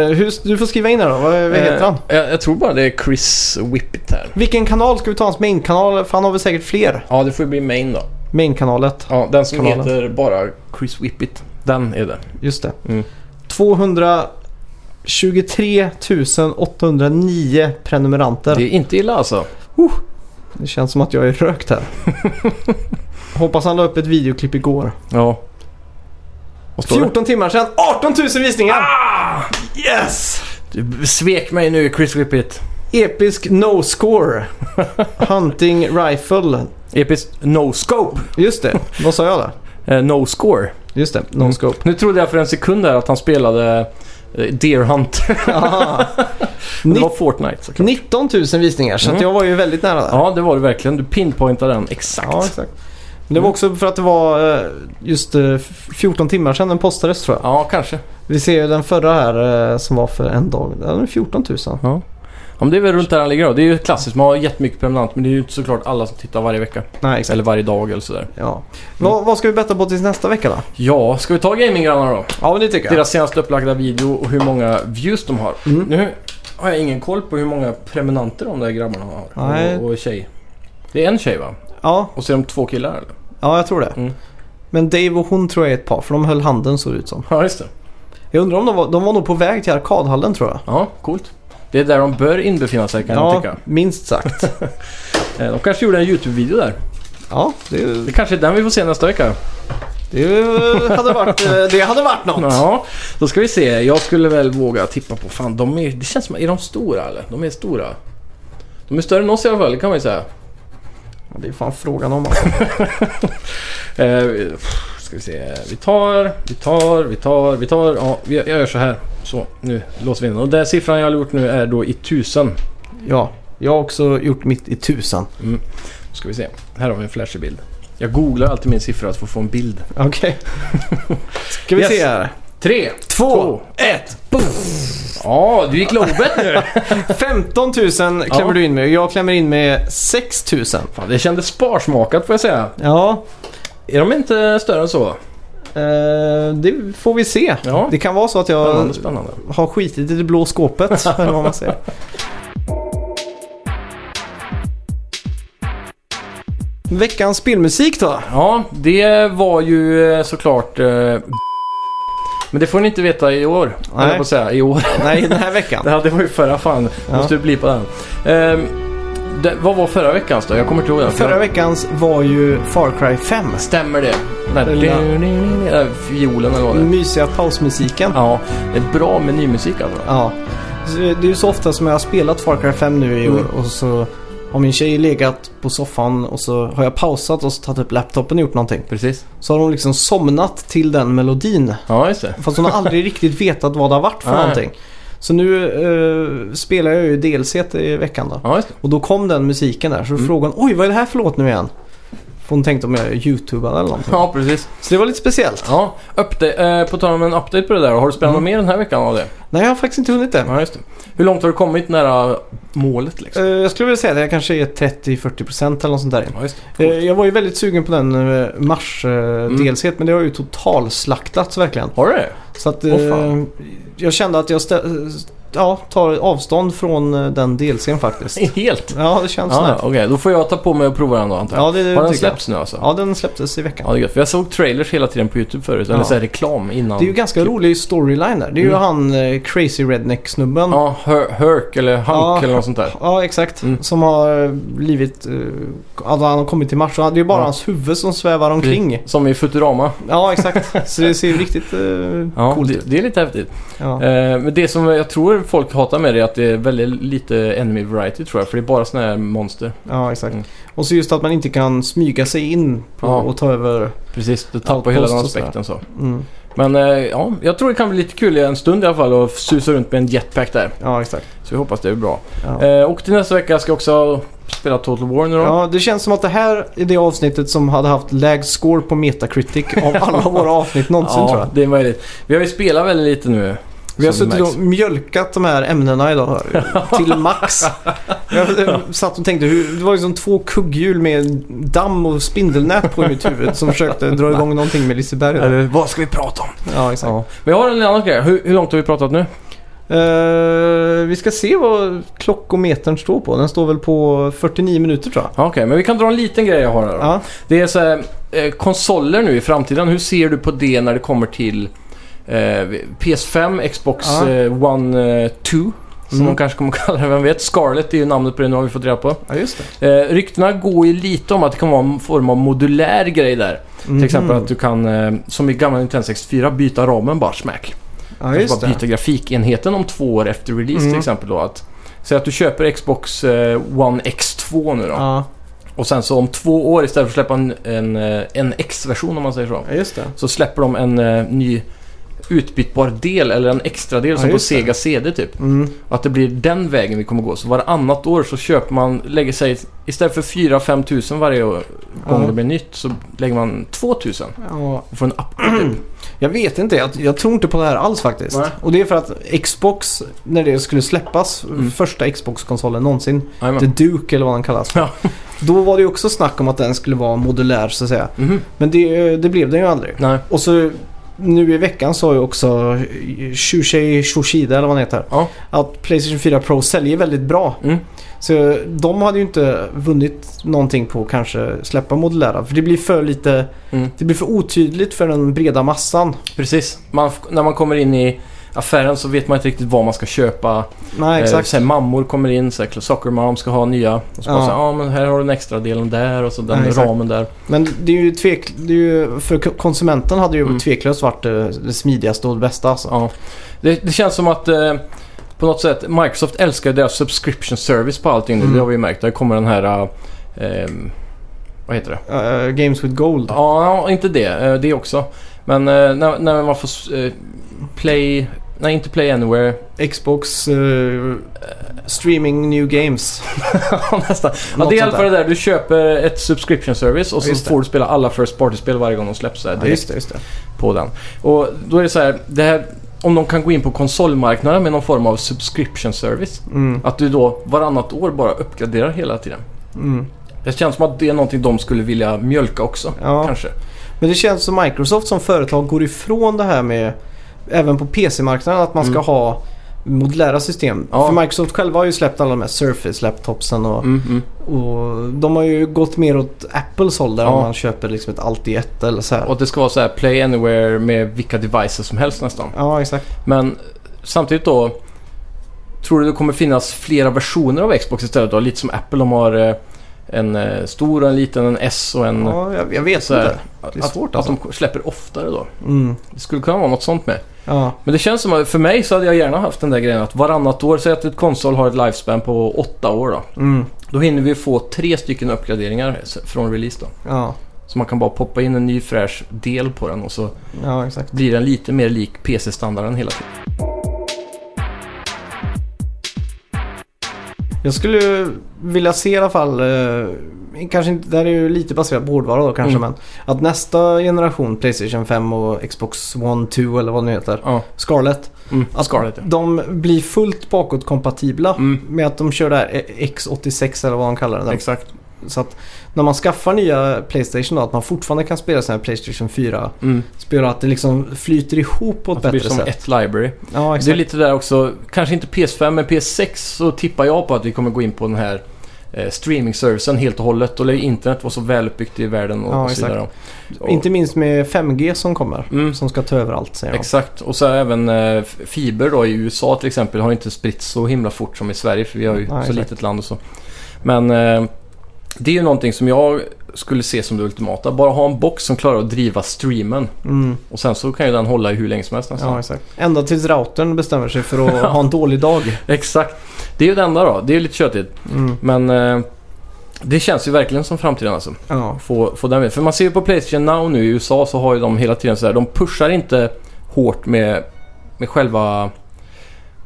[SPEAKER 2] Eh, hur, du får skriva in det då. Vad, vad heter
[SPEAKER 1] Mm. Eh,
[SPEAKER 2] han?
[SPEAKER 1] Jag, jag tror bara det är Chris Whippet här.
[SPEAKER 2] Vilken kanal ska vi ta hans main-kanal? För han har väl säkert fler.
[SPEAKER 1] Ja, det får ju bli main då.
[SPEAKER 2] Main-kanalet.
[SPEAKER 1] Ja, den som
[SPEAKER 2] Kanalen.
[SPEAKER 1] heter bara Chris Whippet. Den är det.
[SPEAKER 2] Just det.
[SPEAKER 1] Mm.
[SPEAKER 2] 223 809 prenumeranter.
[SPEAKER 1] Det
[SPEAKER 2] Det...
[SPEAKER 1] är inte illa alltså.
[SPEAKER 2] känns som att jag är rökt här. Hoppas han la upp ett videoklipp igår.
[SPEAKER 1] Ja. Vad står
[SPEAKER 2] 14 timmar sedan, 18 000 visningar!
[SPEAKER 1] Ah!
[SPEAKER 2] Ah! Yes!
[SPEAKER 1] det? Du svek mig nu Chris Whippet.
[SPEAKER 2] Episk no score. Hunting rifle.
[SPEAKER 1] Episkt No Scope.
[SPEAKER 2] Just det, vad sa jag där?
[SPEAKER 1] Eh, no Score.
[SPEAKER 2] Just det, no
[SPEAKER 1] Mm.
[SPEAKER 2] scope.
[SPEAKER 1] Nu trodde jag för en sekund där att han spelade eh, Deer Hunter.
[SPEAKER 2] Aha.
[SPEAKER 1] Mm. Det var
[SPEAKER 2] Nitt-
[SPEAKER 1] Fortnite såklart.
[SPEAKER 2] 19 000 visningar, så att
[SPEAKER 1] Mm.
[SPEAKER 2] jag var ju väldigt nära där.
[SPEAKER 1] Ja, det var det verkligen. Du pinpointade den exakt.
[SPEAKER 2] Ja,
[SPEAKER 1] Ja,
[SPEAKER 2] exakt. Men det var också för att det var eh, just eh, 14 timmar sedan den postades tror jag.
[SPEAKER 1] kanske.
[SPEAKER 2] Vi ser ju den förra här eh, som var för en dag. Den är 14 000.
[SPEAKER 1] Ja. Om det är väl runt där han ligger då. Det är ju klassiskt. Man har jättemycket prenumerant men det är ju inte såklart alla som tittar varje vecka.
[SPEAKER 2] Nej, exakt. Mm.
[SPEAKER 1] Eller varje dag eller sådär.
[SPEAKER 2] Ja. Vad- vad ska vi betta på tills nästa vecka då?
[SPEAKER 1] Ja, ska vi ta gaminggrannar då?
[SPEAKER 2] Ja, men det tycker
[SPEAKER 1] Deras senast upplagda video och hur många views de har.
[SPEAKER 2] Mm.
[SPEAKER 1] Nu har jag ingen koll på hur många prenumeranter de där grabbarna har.
[SPEAKER 2] Nej.
[SPEAKER 1] Och, och tjej. Det är en tjej va?
[SPEAKER 2] Ja,
[SPEAKER 1] Och så är de två killar eller?
[SPEAKER 2] ja, jag tror det.
[SPEAKER 1] Mm.
[SPEAKER 2] Men Dave och hon tror jag är ett par, för de höll handen så ut som.
[SPEAKER 1] Ja, just det.
[SPEAKER 2] Jag undrar om de var, de var nog på väg till arkadhallen tror jag.
[SPEAKER 1] Ja, coolt. Det är där de bör inbefinna sig kan jag tycka.
[SPEAKER 2] minst sagt.
[SPEAKER 1] Eh, De kanske gjorde en YouTube-video där.
[SPEAKER 2] Ja, det,
[SPEAKER 1] Det kanske är den vi får se nästa vecka.
[SPEAKER 2] det, hade, varit, eh, det hade varit något.
[SPEAKER 1] Ja, då ska vi se. Jag skulle väl våga tippa på... Fan, de är... Det känns som... Är de stora eller? De är stora. De är större än oss i alla fall, det kan man ju säga.
[SPEAKER 2] Ja, Det är fan frågan om alltså.
[SPEAKER 1] Eh, pff, ska vi se. Vi tar, vi tar, vi tar, vi tar. Ja, vi- jag gör så här. Så, nu låser vi in den. Och den siffran jag har gjort nu är då i tusen.
[SPEAKER 2] Ja, jag har också gjort mitt i tusan.
[SPEAKER 1] Då ska vi se. Här har vi en flashig bild. Jag googlar alltid min siffra för att få en bild.
[SPEAKER 2] Okej. Ska vi
[SPEAKER 1] Yes.
[SPEAKER 2] se här.
[SPEAKER 1] Tre,
[SPEAKER 2] Två,
[SPEAKER 1] två, ett, Ja, du gick lowbet nu.
[SPEAKER 2] 15 000 klämmer
[SPEAKER 1] Ja.
[SPEAKER 2] du in med. Jag klämmer in med 6 000.
[SPEAKER 1] Fan, det kändes sparsmakat får jag säga.
[SPEAKER 2] Ja,
[SPEAKER 1] Är de inte större än så?
[SPEAKER 2] eh, det får vi se.
[SPEAKER 1] Ja.
[SPEAKER 2] Det kan vara så att jag
[SPEAKER 1] Spännande, spännande.
[SPEAKER 2] har skitit i det blå skåpet. eller vad man säger. Veckans spelmusik då?
[SPEAKER 1] Ja, det var ju eh, såklart... eh, Men det får ni inte veta i år.
[SPEAKER 2] Nej.
[SPEAKER 1] Nej. Jag på att säga, i år.
[SPEAKER 2] Nej, den här veckan.
[SPEAKER 1] Ja, det var ju förra fan.
[SPEAKER 2] Ja.
[SPEAKER 1] Måste du bli på den. Ehm, det, vad var förra veckans då? Jag kommer inte ihåg den.
[SPEAKER 2] Förra veckans var ju Far Cry 5.
[SPEAKER 1] Stämmer det? Den där,
[SPEAKER 2] Den där-
[SPEAKER 1] den där fiolen eller vad det
[SPEAKER 2] Den
[SPEAKER 1] är.
[SPEAKER 2] mysiga pausmusiken.
[SPEAKER 1] Ja, det är bra med ny musik alltså.
[SPEAKER 2] Ja. Så Det är ju så ofta som jag har spelat Far Cry 5 nu i år
[SPEAKER 1] Mm.
[SPEAKER 2] och så har min tjej legat på soffan och så har jag pausat och så tagit upp laptopen och gjort någonting.
[SPEAKER 1] Precis.
[SPEAKER 2] Så har hon liksom somnat till den melodin.
[SPEAKER 1] Ja, just det.
[SPEAKER 2] Fast hon har aldrig riktigt vetat vad det har varit för
[SPEAKER 1] Nej.
[SPEAKER 2] någonting. Så nu eh, spelar jag ju DLC i veckan då.
[SPEAKER 1] Ja, just det.
[SPEAKER 2] Och då kom den musiken där. Så
[SPEAKER 1] Mm.
[SPEAKER 2] frågade hon oj vad är det här för låt nu igen? För hon tänkte om jag youtubade eller någonting.
[SPEAKER 1] Ja, precis.
[SPEAKER 2] Så det var lite speciellt.
[SPEAKER 1] Ja, update, eh, på tal om en update på det där. Har du
[SPEAKER 2] Mm.
[SPEAKER 1] spelat något mer den här veckan av det?
[SPEAKER 2] Nej jag har faktiskt inte hunnit det.
[SPEAKER 1] Ja, just det. Hur långt har du kommit nära målet liksom?
[SPEAKER 2] Eh, jag skulle vilja säga att jag kanske är 30-40% eller något sånt där.
[SPEAKER 1] Ja, just det.
[SPEAKER 2] Eh, Jag var ju väldigt sugen på den eh,
[SPEAKER 1] Mm.
[SPEAKER 2] mars-DLC men det har ju totalslaktats verkligen.
[SPEAKER 1] Har du det?
[SPEAKER 2] Så att
[SPEAKER 1] Åh,
[SPEAKER 2] eh,
[SPEAKER 1] fan.
[SPEAKER 2] jag kände att jag stä- eh, ja, tar avstånd från eh, den DLCn faktiskt.
[SPEAKER 1] Helt?
[SPEAKER 2] Ja, det känns
[SPEAKER 1] Ja,
[SPEAKER 2] sådär.
[SPEAKER 1] okej. Då får jag ta på mig och prova den då antar jag.
[SPEAKER 2] Ja, det, det
[SPEAKER 1] har den
[SPEAKER 2] tycker jag.
[SPEAKER 1] släppts nu alltså?
[SPEAKER 2] Ja, den släpptes i veckan.
[SPEAKER 1] Ja, det är gött. För jag såg trailers hela tiden på YouTube förut. Eller
[SPEAKER 2] Ja.
[SPEAKER 1] så här reklam innan.
[SPEAKER 2] Det är ju ganska rolig storyline där. Det är ju
[SPEAKER 1] Mm.
[SPEAKER 2] han eh, Crazy Redneck-snubben.
[SPEAKER 1] Ja, Her- Herc eller Hank
[SPEAKER 2] Ja.
[SPEAKER 1] eller något sånt där.
[SPEAKER 2] Ja, exakt.
[SPEAKER 1] Mm.
[SPEAKER 2] Som har eh, blivit... eh, Alltså han har kommit till Mars. och Det är ju bara
[SPEAKER 1] Ja. Mm.
[SPEAKER 2] hans huvud som svävar omkring.
[SPEAKER 1] Som i Futurama.
[SPEAKER 2] Ja, exakt. Så det ser ju riktigt eh,
[SPEAKER 1] Ja,
[SPEAKER 2] coolt ut.
[SPEAKER 1] det, det är lite häftigt.
[SPEAKER 2] Ja.
[SPEAKER 1] Eh, men det som jag tror folk hatar med det är att det är väldigt lite enemy variety tror jag. För det är bara såna här monster.
[SPEAKER 2] Ja, exakt.
[SPEAKER 1] Mm.
[SPEAKER 2] Och så just att man inte kan smyga sig in på
[SPEAKER 1] Ja.
[SPEAKER 2] och ta över.
[SPEAKER 1] Precis, det tappar
[SPEAKER 2] Ja,
[SPEAKER 1] hela
[SPEAKER 2] post
[SPEAKER 1] den
[SPEAKER 2] och sådär.
[SPEAKER 1] aspekten så.
[SPEAKER 2] Mm.
[SPEAKER 1] Men eh, ja, jag tror det kan bli lite kul i en stund i alla fall att susa runt med en jetpack där.
[SPEAKER 2] Ja, exakt.
[SPEAKER 1] Så vi hoppas det blir bra.
[SPEAKER 2] Ja.
[SPEAKER 1] Eh, och till nästa vecka ska jag också spela Total War nu då.
[SPEAKER 2] ja, det känns som att det här är det avsnittet som hade haft lägst score på Metacritic av alla våra avsnitt någonsin tror jag.
[SPEAKER 1] det är möjligt. Vi har ju spelat väldigt lite nu.
[SPEAKER 2] Vi har
[SPEAKER 1] Som det
[SPEAKER 2] suttit och mjölkat de här ämnena idag hör du, till max. Jag eh, satt och tänkte, hur, det var ju som två kugghjul med damm och spindelnät på i mitt huvud som försökte dra igång någonting med Liseberg. idag.
[SPEAKER 1] Eller vad ska vi prata om?
[SPEAKER 2] Ja, exakt.
[SPEAKER 1] Ja. Men jag har en annan grej. Hur, hur långt har vi pratat nu?
[SPEAKER 2] Eh, vi ska se vad klockometern står på. Den står väl på 49 minuter tror jag.
[SPEAKER 1] Ja, Okej, men vi kan dra en liten grej jag har här då.
[SPEAKER 2] Ja.
[SPEAKER 1] Det är så här, eh, konsoler nu i framtiden. Hur ser du på det när det kommer till eh, PS5, Xbox
[SPEAKER 2] Ja.
[SPEAKER 1] eh, One eh, 2? Som
[SPEAKER 2] Mm.
[SPEAKER 1] de kanske kommer kalla det, vem vet? Scarlet är ju namnet på det, nu har vi fått reda på.
[SPEAKER 2] ja, just det.
[SPEAKER 1] Eh, ryktena går ju lite om att det kan vara en form av modulär grej där.
[SPEAKER 2] Mhm.
[SPEAKER 1] Till exempel att du kan, eh, som i gamla Nintendo 64, byta ramen bara smack.
[SPEAKER 2] ja,
[SPEAKER 1] Kanske
[SPEAKER 2] just
[SPEAKER 1] bara byta
[SPEAKER 2] det.
[SPEAKER 1] grafikenheten om två år efter release till
[SPEAKER 2] Mm.
[SPEAKER 1] exempel då. Att, säg att du köper Xbox eh, One X2 nu då.
[SPEAKER 2] Ja,
[SPEAKER 1] Och sen så om två år istället för att släppa en, en, eh, en X-version om man säger så.
[SPEAKER 2] ja, just det.
[SPEAKER 1] Så släpper de en eh, ny utbytbar del eller en extra del
[SPEAKER 2] Ja,
[SPEAKER 1] som på
[SPEAKER 2] just det.
[SPEAKER 1] Sega CD typ.
[SPEAKER 2] Mm.
[SPEAKER 1] Och att det blir den vägen vi kommer gå. Så varannat år så köper man, lägger sig istället för 4-5 tusen varje år, gång
[SPEAKER 2] Ja.
[SPEAKER 1] det blir nytt så lägger man 2 tusen
[SPEAKER 2] Ja,
[SPEAKER 1] och får en upgrade. typ.
[SPEAKER 2] Jag vet inte, jag, jag tror inte på det här alls faktiskt.
[SPEAKER 1] Nej.
[SPEAKER 2] Och det är för att Xbox, när det skulle släppas,
[SPEAKER 1] Mm.
[SPEAKER 2] första Xbox-konsolen någonsin,
[SPEAKER 1] Jajamän.
[SPEAKER 2] The Duke eller vad den kallas för.
[SPEAKER 1] Ja.
[SPEAKER 2] Då var det ju också snack om att den skulle vara modulär så att säga.
[SPEAKER 1] Mhm.
[SPEAKER 2] Men det, det blev den ju aldrig.
[SPEAKER 1] Nej.
[SPEAKER 2] Och så nu i veckan sa ju också Shushei Shoshida eller vad han heter.
[SPEAKER 1] Ja.
[SPEAKER 2] Att Playstation 4 Pro säljer väldigt bra.
[SPEAKER 1] Mm.
[SPEAKER 2] Så de hade ju inte vunnit någonting på att kanske släppa modulära. För det blir för lite,
[SPEAKER 1] Mm.
[SPEAKER 2] det blir för otydligt för den breda massan.
[SPEAKER 1] Precis. Man, f- när man kommer in i affären så vet man inte riktigt vad man ska köpa.
[SPEAKER 2] Nej,
[SPEAKER 1] Eh,
[SPEAKER 2] exakt.
[SPEAKER 1] så här, mammor kommer in, så här, soccer mom ska ha nya. Och så bara
[SPEAKER 2] Ja.
[SPEAKER 1] så här, ah, men här har du den extra delen där och så den
[SPEAKER 2] Ja, exakt.
[SPEAKER 1] ramen där.
[SPEAKER 2] Men det är ju tvek... Det är ju, för k- konsumenten hade ju
[SPEAKER 1] Mm.
[SPEAKER 2] tveklöst varit det, det smidigaste och det bästa alltså.
[SPEAKER 1] Ja. Det, det känns som att eh, på något sätt Microsoft älskar deras subscription service på allting nu.
[SPEAKER 2] Mm.
[SPEAKER 1] Det har vi ju märkt. Där kommer den här... Eh, vad heter det?
[SPEAKER 2] Eh, Games with Gold.
[SPEAKER 1] Ja, inte det. Eh, Det också. Men eh, när, när man får s- eh, play... Nej, inte play anywhere.
[SPEAKER 2] Xbox eh, Streaming New Games.
[SPEAKER 1] Ja, Nästan. Ja,
[SPEAKER 2] Något
[SPEAKER 1] det är i
[SPEAKER 2] sånt
[SPEAKER 1] alla fall det där. Du köper ett subscription service och
[SPEAKER 2] Ja,
[SPEAKER 1] så
[SPEAKER 2] just det.
[SPEAKER 1] får du spela alla First Party-spel varje gång de släpps. Så här,
[SPEAKER 2] Ja,
[SPEAKER 1] direkt.
[SPEAKER 2] just det, just det.
[SPEAKER 1] på den. Och då är det så här, det här om de kan gå in på konsolmarknaden med någon form av subscription service.
[SPEAKER 2] Mm,
[SPEAKER 1] Att du då varannat år bara uppgraderar hela tiden.
[SPEAKER 2] mm.
[SPEAKER 1] Det känns som att det är någonting de skulle vilja mjölka också.
[SPEAKER 2] Ja.
[SPEAKER 1] Kanske.
[SPEAKER 2] Men det känns som Microsoft som företag går ifrån det här med även på PC-marknaden att man ska
[SPEAKER 1] Mm.
[SPEAKER 2] ha modulära system.
[SPEAKER 1] Ja.
[SPEAKER 2] För Microsoft själva har ju släppt alla de här Surface-laptopsen och,
[SPEAKER 1] Mm, mm.
[SPEAKER 2] och de har ju gått mer åt Apples håll där
[SPEAKER 1] Ja.
[SPEAKER 2] man köper liksom ett allt i ett eller så här.
[SPEAKER 1] Och att det ska vara så här play anywhere med vilka devices som helst nästan.
[SPEAKER 2] Ja, exakt.
[SPEAKER 1] Men samtidigt då. Tror du det kommer finnas flera versioner av Xbox istället då? Lite som Apple, de har eh, en eh, stor, en liten, en S och en...
[SPEAKER 2] Ja, jag, jag vet
[SPEAKER 1] Mm. så här,
[SPEAKER 2] inte. det är
[SPEAKER 1] att,
[SPEAKER 2] svårt alltså.
[SPEAKER 1] att de släpper oftare då.
[SPEAKER 2] Mm.
[SPEAKER 1] Det skulle kunna vara något sånt med.
[SPEAKER 2] Ja,
[SPEAKER 1] Men det känns som att för mig så hade jag gärna haft den där grejen att varannat år, säg att ett konsol har ett lifespan på åtta år då.
[SPEAKER 2] mm.
[SPEAKER 1] Då hinner vi få tre stycken uppgraderingar från release då.
[SPEAKER 2] ja.
[SPEAKER 1] Så man kan bara poppa in en ny fräsch del på den och så
[SPEAKER 2] ja exakt.
[SPEAKER 1] blir den lite mer lik PC-standarden hela tiden.
[SPEAKER 2] Jag skulle vilja se i alla fall, eh, kanske inte, det här är ju lite baserat på hårdvara då kanske,
[SPEAKER 1] Mm.
[SPEAKER 2] men att nästa generation Playstation 5 och Xbox One 2 eller vad det nu heter,
[SPEAKER 1] Ja,
[SPEAKER 2] Scarlett,
[SPEAKER 1] mm.
[SPEAKER 2] att
[SPEAKER 1] Scarlett ja.
[SPEAKER 2] de blir fullt bakåtkompatibla
[SPEAKER 1] Mm.
[SPEAKER 2] med att de kör det här eh, X86 eller vad de kallar det. där.
[SPEAKER 1] Exakt.
[SPEAKER 2] Så att när man skaffar nya Playstation då, att man fortfarande kan spela sina Playstation 4-spel
[SPEAKER 1] Mm.
[SPEAKER 2] och att det liksom flyter ihop på ett
[SPEAKER 1] Att det blir
[SPEAKER 2] bättre
[SPEAKER 1] som
[SPEAKER 2] sätt.
[SPEAKER 1] ett library.
[SPEAKER 2] Ja,
[SPEAKER 1] Det är lite där också, kanske inte PS5 men PS6 så tippar jag på att vi kommer gå in på den här eh, streaming-servicen helt och hållet. Då lär ju internet vara så välutbyggt i världen och,
[SPEAKER 2] Ja,
[SPEAKER 1] och så
[SPEAKER 2] exakt.
[SPEAKER 1] vidare. Och-
[SPEAKER 2] Inte minst med 5G som kommer.
[SPEAKER 1] Mm.
[SPEAKER 2] Som ska ta över allt säger de.
[SPEAKER 1] Exakt, och så även eh, f- fiber då i USA till exempel har inte spritt så himla fort som i Sverige för vi har ju
[SPEAKER 2] Nej,
[SPEAKER 1] så
[SPEAKER 2] exakt.
[SPEAKER 1] litet land och så. Men eh, det är ju någonting som jag skulle se som det ultimata. Bara ha en box som klarar att driva streamen
[SPEAKER 2] Mm.
[SPEAKER 1] och sen så kan ju den hålla i hur länge som helst alltså. nästan.
[SPEAKER 2] Ja, exakt. Ända tills routern bestämmer sig för att ha en dålig dag.
[SPEAKER 1] Exakt, det är ju det enda då. Det är ju lite tjötigt.
[SPEAKER 2] Mm.
[SPEAKER 1] Men eh, det känns ju verkligen som framtiden alltså.
[SPEAKER 2] Ja.
[SPEAKER 1] Få, få den med. För man ser ju på Playstation Now nu i USA så har ju de hela tiden så här. De pushar inte hårt med, med själva,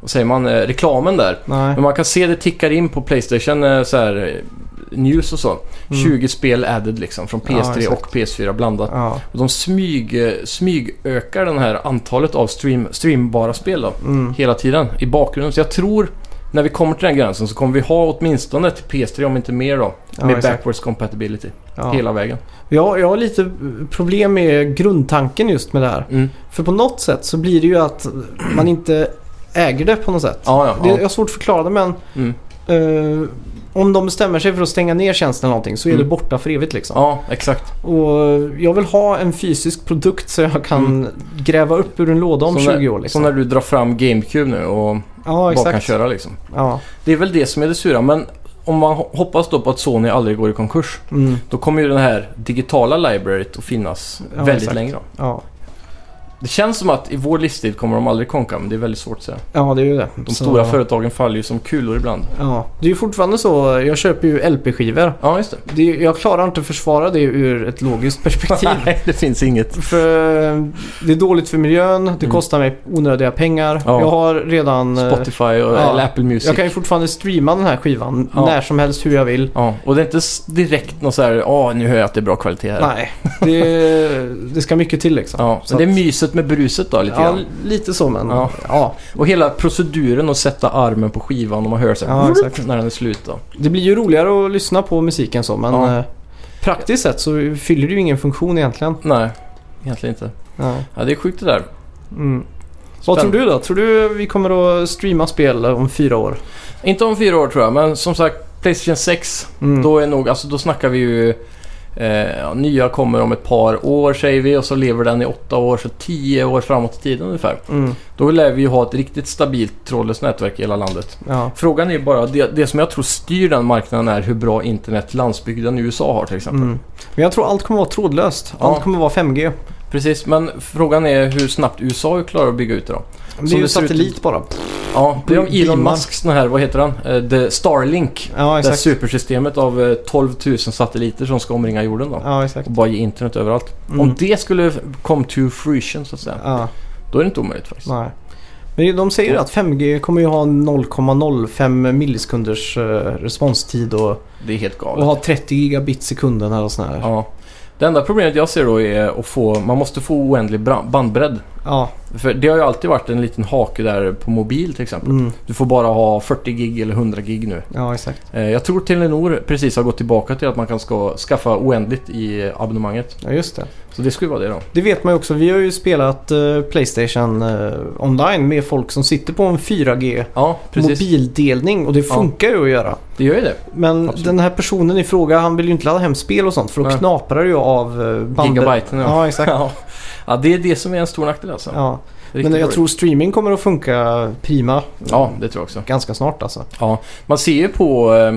[SPEAKER 1] vad säger man, eh, reklamen där.
[SPEAKER 2] Nej.
[SPEAKER 1] Men man kan se det tickar in på Playstation eh, så här, eh, news och så. 20 spel added liksom från
[SPEAKER 2] Mm. Ja,
[SPEAKER 1] PS3
[SPEAKER 2] exakt.
[SPEAKER 1] och PS4 blandat.
[SPEAKER 2] Ja.
[SPEAKER 1] Och de smyg, eh, smygökar den här antalet av stream, streambara spel då.
[SPEAKER 2] Mm.
[SPEAKER 1] Hela tiden i bakgrunden. Så jag tror när vi kommer till den här gränsen så kommer vi ha åtminstone till PS3 om inte mer då.
[SPEAKER 2] Ja,
[SPEAKER 1] med
[SPEAKER 2] exakt.
[SPEAKER 1] backwards compatibility.
[SPEAKER 2] Ja.
[SPEAKER 1] Hela vägen.
[SPEAKER 2] Ja, jag har lite problem med grundtanken just med det här.
[SPEAKER 1] Mm.
[SPEAKER 2] För på något sätt så blir det ju att man inte äger det på något sätt.
[SPEAKER 1] Ja, ja,
[SPEAKER 2] Det,
[SPEAKER 1] ja.
[SPEAKER 2] jag har svårt att förklara det men
[SPEAKER 1] Mm.
[SPEAKER 2] eh, om de bestämmer sig för att stänga ner tjänsten eller någonting så är
[SPEAKER 1] Mm.
[SPEAKER 2] det borta för evigt liksom.
[SPEAKER 1] ja, exakt.
[SPEAKER 2] Och jag vill ha en fysisk produkt så jag kan gräva upp ur en låda om
[SPEAKER 1] Mm. Som
[SPEAKER 2] 20
[SPEAKER 1] när-
[SPEAKER 2] år liksom.
[SPEAKER 1] Som när du drar fram GameCube nu och
[SPEAKER 2] ja,
[SPEAKER 1] bara kan
[SPEAKER 2] exakt.
[SPEAKER 1] köra liksom.
[SPEAKER 2] Ja,
[SPEAKER 1] Det är väl det som är det sura, men om man ho- hoppas då på att Sony aldrig går i konkurs.
[SPEAKER 2] mm,
[SPEAKER 1] Då kommer ju den här digitala libraryt att finnas
[SPEAKER 2] Ja,
[SPEAKER 1] väldigt
[SPEAKER 2] exakt.
[SPEAKER 1] länge då.
[SPEAKER 2] ja.
[SPEAKER 1] Det känns som att i vår livstid kommer de aldrig konka, men det är väldigt svårt att säga.
[SPEAKER 2] ja, det är ju det.
[SPEAKER 1] De stora företagen faller ju som kulor ibland.
[SPEAKER 2] Ja, det är ju fortfarande så. Jag köper ju LP-skivor.
[SPEAKER 1] Ja, just det.
[SPEAKER 2] Det, är- jag klarar inte att försvara det ur ett logiskt perspektiv.
[SPEAKER 1] Nej, det finns inget.
[SPEAKER 2] För eh, det är dåligt för miljön, det
[SPEAKER 1] Mm.
[SPEAKER 2] kostar mig onödiga pengar.
[SPEAKER 1] Ja.
[SPEAKER 2] Jag har redan... eh,
[SPEAKER 1] Spotify och,
[SPEAKER 2] ja.
[SPEAKER 1] eller Apple Music.
[SPEAKER 2] Jag kan ju fortfarande streama den här skivan
[SPEAKER 1] Ja.
[SPEAKER 2] när som helst hur jag vill.
[SPEAKER 1] Ja, och det är inte s- direkt någon så här, ja nu hör jag att det är bra kvalitet här.
[SPEAKER 2] Nej, det, det ska mycket till liksom.
[SPEAKER 1] Ja,
[SPEAKER 2] Så
[SPEAKER 1] men det är
[SPEAKER 2] att-
[SPEAKER 1] myset med bruset då lite
[SPEAKER 2] Ja,
[SPEAKER 1] grann.
[SPEAKER 2] lite så men...
[SPEAKER 1] Ja.
[SPEAKER 2] Ja.
[SPEAKER 1] Och hela proceduren att sätta armen på skivan och man hör så här,
[SPEAKER 2] Ja, exakt.
[SPEAKER 1] när den är slut då.
[SPEAKER 2] Det blir ju roligare att lyssna på musiken så men...
[SPEAKER 1] Ja.
[SPEAKER 2] eh, Praktiskt sett så fyller det ju ingen funktion egentligen.
[SPEAKER 1] Nej, egentligen inte.
[SPEAKER 2] Ja.
[SPEAKER 1] Ja, det är sjukt det där.
[SPEAKER 2] Mm. Vad tror
[SPEAKER 1] Spännande.
[SPEAKER 2] du då? Tror du vi kommer att streama spel om fyra år?
[SPEAKER 1] Inte om fyra år tror jag, men som sagt Playstation 6.
[SPEAKER 2] Mm.
[SPEAKER 1] Då är nog, alltså då snackar vi ju... Eh, ja, nya kommer om ett par år säger vi och så lever den i åtta år, så tio år framåt i tiden ungefär.
[SPEAKER 2] Mm.
[SPEAKER 1] Då lär vi ju ha ett riktigt stabilt trådlöst nätverk i hela landet.
[SPEAKER 2] Ja.
[SPEAKER 1] Frågan är ju bara, det, det som jag tror styr den marknaden är hur bra internet landsbygden i USA har till exempel.
[SPEAKER 2] Mm. Men jag tror allt kommer att vara trådlöst.
[SPEAKER 1] Ja.
[SPEAKER 2] Allt kommer att vara 5G.
[SPEAKER 1] Precis, men frågan är hur snabbt USA klarar att bygga ut det då.
[SPEAKER 2] Men det
[SPEAKER 1] Som
[SPEAKER 2] är
[SPEAKER 1] det
[SPEAKER 2] ju
[SPEAKER 1] ser ut-
[SPEAKER 2] satellit bara.
[SPEAKER 1] Ja, det är om Elon
[SPEAKER 2] Beamar.
[SPEAKER 1] Musks den här, vad heter han? Eh, The Starlink.
[SPEAKER 2] Ja,
[SPEAKER 1] Det här
[SPEAKER 2] exakt.
[SPEAKER 1] supersystemet av eh, 12 000 satelliter som ska omringa jorden då.
[SPEAKER 2] Ja, exakt.
[SPEAKER 1] Och bara ge internet överallt.
[SPEAKER 2] Mm.
[SPEAKER 1] Om det skulle come to fruition så att säga.
[SPEAKER 2] Ja,
[SPEAKER 1] Då är det inte omöjligt faktiskt.
[SPEAKER 2] nej. Men de säger ju att 5G kommer ju ha 0,05 millisekunders eh, responstid och,
[SPEAKER 1] Det är helt
[SPEAKER 2] och
[SPEAKER 1] galet.
[SPEAKER 2] ha 30 gigabit sekunden eller sånt här.
[SPEAKER 1] Ja. Det enda problemet jag ser då är att få, man måste få oändlig bra- bandbredd.
[SPEAKER 2] Ja,
[SPEAKER 1] För det har ju alltid varit en liten hake där på mobil till exempel.
[SPEAKER 2] mm.
[SPEAKER 1] Du får bara ha 40 gig eller 100 gig nu.
[SPEAKER 2] ja exakt.
[SPEAKER 1] Eh, Jag tror Telenor precis har gått tillbaka till att man kan ska, skaffa oändligt i abonnemanget.
[SPEAKER 2] Ja, just det.
[SPEAKER 1] Så det skulle vara det då.
[SPEAKER 2] Det vet man ju också. Vi har ju spelat eh, Playstation eh, online med folk som sitter på en 4G
[SPEAKER 1] Ja, precis.
[SPEAKER 2] mobildelning och det
[SPEAKER 1] Ja.
[SPEAKER 2] funkar ju att göra.
[SPEAKER 1] Det gör ju det.
[SPEAKER 2] Men
[SPEAKER 1] Absolut.
[SPEAKER 2] den här personen i fråga han vill ju inte ladda hem spel och sånt för då
[SPEAKER 1] Nej.
[SPEAKER 2] knaprar det ju av eh, bandet.
[SPEAKER 1] Gigabyten
[SPEAKER 2] Ja,
[SPEAKER 1] ja.
[SPEAKER 2] exakt.
[SPEAKER 1] ja. Ja, det är det som är en stor nackdel alltså.
[SPEAKER 2] Ja.
[SPEAKER 1] Riktigt
[SPEAKER 2] Men jag
[SPEAKER 1] dåligt.
[SPEAKER 2] tror streaming kommer att funka prima
[SPEAKER 1] Ja, det tror jag också.
[SPEAKER 2] ganska snart alltså.
[SPEAKER 1] Ja, man ser ju på eh,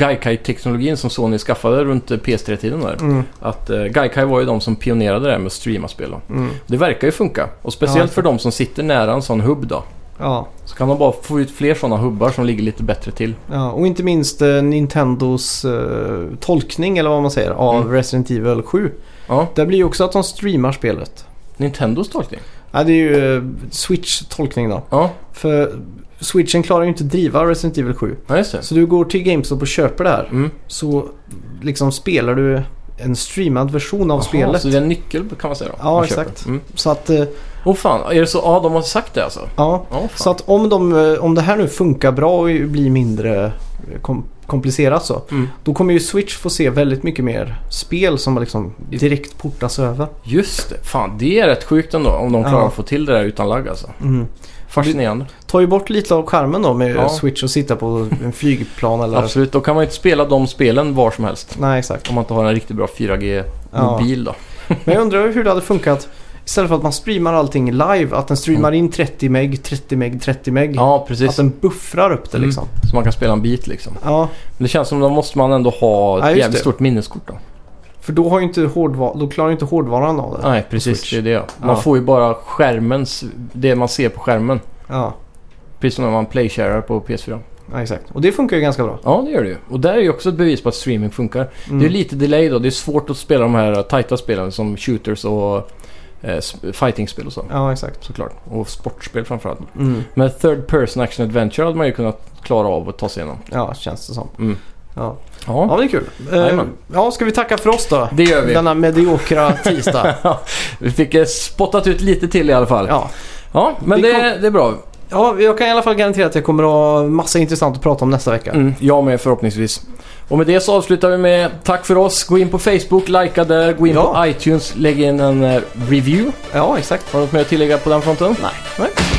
[SPEAKER 1] Gaikai-teknologin som Sony skaffade runt eh, PS3-tiden där.
[SPEAKER 2] Mm,
[SPEAKER 1] Att eh, Gaikai var ju de som pionerade det här med att streama spel. då.
[SPEAKER 2] mm.
[SPEAKER 1] Det verkar ju funka. Och speciellt
[SPEAKER 2] Ja.
[SPEAKER 1] för de som sitter nära en sån hubb då.
[SPEAKER 2] Ja.
[SPEAKER 1] Så kan de bara få ut fler sådana hubbar som ligger lite bättre till.
[SPEAKER 2] ja, och inte minst eh, Nintendos eh, tolkning eller vad man säger av
[SPEAKER 1] Mm.
[SPEAKER 2] Resident Evil 7.
[SPEAKER 1] Ja,
[SPEAKER 2] Det blir ju också att de streamar spelet.
[SPEAKER 1] Nintendos tolkning.
[SPEAKER 2] Ja, det är ju eh, Switch-tolkning då.
[SPEAKER 1] Ja,
[SPEAKER 2] För Switchen klarar ju inte driva Resident Evil 7.
[SPEAKER 1] ja just det.
[SPEAKER 2] Så du går till GameStop och köper det här.
[SPEAKER 1] Mm.
[SPEAKER 2] Så liksom spelar du en streamad version av
[SPEAKER 1] Jaha,
[SPEAKER 2] spelet.
[SPEAKER 1] Så det är en nyckel kan man säga då?
[SPEAKER 2] Ja,
[SPEAKER 1] man köper.
[SPEAKER 2] exakt.
[SPEAKER 1] Mm.
[SPEAKER 2] Så att, eh,
[SPEAKER 1] Åh fan, är det så? Ja, de har sagt det alltså?
[SPEAKER 2] ja.
[SPEAKER 1] Ja, fan.
[SPEAKER 2] Så att om, de, eh, om det här nu funkar bra och blir mindre eh, kom, komplicerat så.
[SPEAKER 1] Mm.
[SPEAKER 2] Då kommer ju Switch få se väldigt mycket mer spel som liksom direkt portas över.
[SPEAKER 1] Just det. Fan, det är rätt sjukt ändå om de klarar
[SPEAKER 2] Ja.
[SPEAKER 1] att få till det där utan lagg alltså.
[SPEAKER 2] Mm.
[SPEAKER 1] Fascinerande.
[SPEAKER 2] Ta ju bort lite av skärmen då med
[SPEAKER 1] Ja.
[SPEAKER 2] Switch och sitta på en flygplan eller...
[SPEAKER 1] Absolut, då kan man ju inte spela de spelen var som helst.
[SPEAKER 2] Nej, exakt.
[SPEAKER 1] Om man inte har en riktigt bra 4G-mobil då.
[SPEAKER 2] Men jag undrar hur det hade funkat istället för att man streamar allting live. Att den streamar in 30 meg, 30 meg, 30 meg.
[SPEAKER 1] Mm. Ja,
[SPEAKER 2] Att
[SPEAKER 1] precis.
[SPEAKER 2] den buffrar upp det
[SPEAKER 1] Mm.
[SPEAKER 2] liksom.
[SPEAKER 1] Så man kan spela en bit liksom.
[SPEAKER 2] Ja,
[SPEAKER 1] Men det känns som då måste man ändå ha ett
[SPEAKER 2] Ja, just
[SPEAKER 1] jävligt
[SPEAKER 2] det.
[SPEAKER 1] stort minneskort då.
[SPEAKER 2] för då, har ju inte hårdva- då klarar ju inte hårdvaran av det.
[SPEAKER 1] Nej, precis.
[SPEAKER 2] Switch.
[SPEAKER 1] Det är det. ja. Man
[SPEAKER 2] Ja.
[SPEAKER 1] får ju bara skärmens, det man ser på skärmen.
[SPEAKER 2] Ja.
[SPEAKER 1] Precis som när man playsharar på PS4.
[SPEAKER 2] ja, exakt. Och det funkar ju ganska bra.
[SPEAKER 1] Ja, det gör det ju. Och där är ju också ett bevis på att streaming funkar.
[SPEAKER 2] Mm.
[SPEAKER 1] Det är lite delay då. Det är svårt att spela de här äh, tajta spelen som shooters och eh, sp- fightingspel och så.
[SPEAKER 2] Ja, exakt.
[SPEAKER 1] Såklart. Och sportspel framförallt.
[SPEAKER 2] Mm.
[SPEAKER 1] Men third person action adventure hade man ju kunnat klara av att ta sig igenom.
[SPEAKER 2] Ja, känns det som.
[SPEAKER 1] Mm.
[SPEAKER 2] Ja, ja
[SPEAKER 1] Ja.
[SPEAKER 2] men det är kul. Eh,
[SPEAKER 1] Jajamän.
[SPEAKER 2] ja, ska vi tacka för oss då?
[SPEAKER 1] Det gör vi.
[SPEAKER 2] Denna mediokra tisdag.
[SPEAKER 1] Vi fick eh, spottat ut lite till i alla fall. Ja,
[SPEAKER 2] ja.
[SPEAKER 1] men
[SPEAKER 2] Vi
[SPEAKER 1] det,
[SPEAKER 2] kom-
[SPEAKER 1] det är bra.
[SPEAKER 2] ja, jag kan i alla fall garantera att jag kommer att ha massa intressant att prata om nästa vecka.
[SPEAKER 1] Mm, jag med förhoppningsvis. Och med det så avslutar vi med tack för oss. Gå in på Facebook, likea där, gå in
[SPEAKER 2] Ja.
[SPEAKER 1] på iTunes, lägg in en eh, review.
[SPEAKER 2] Ja, exakt.
[SPEAKER 1] Har du något mer att tillägga på den fronten? Nej. Nej.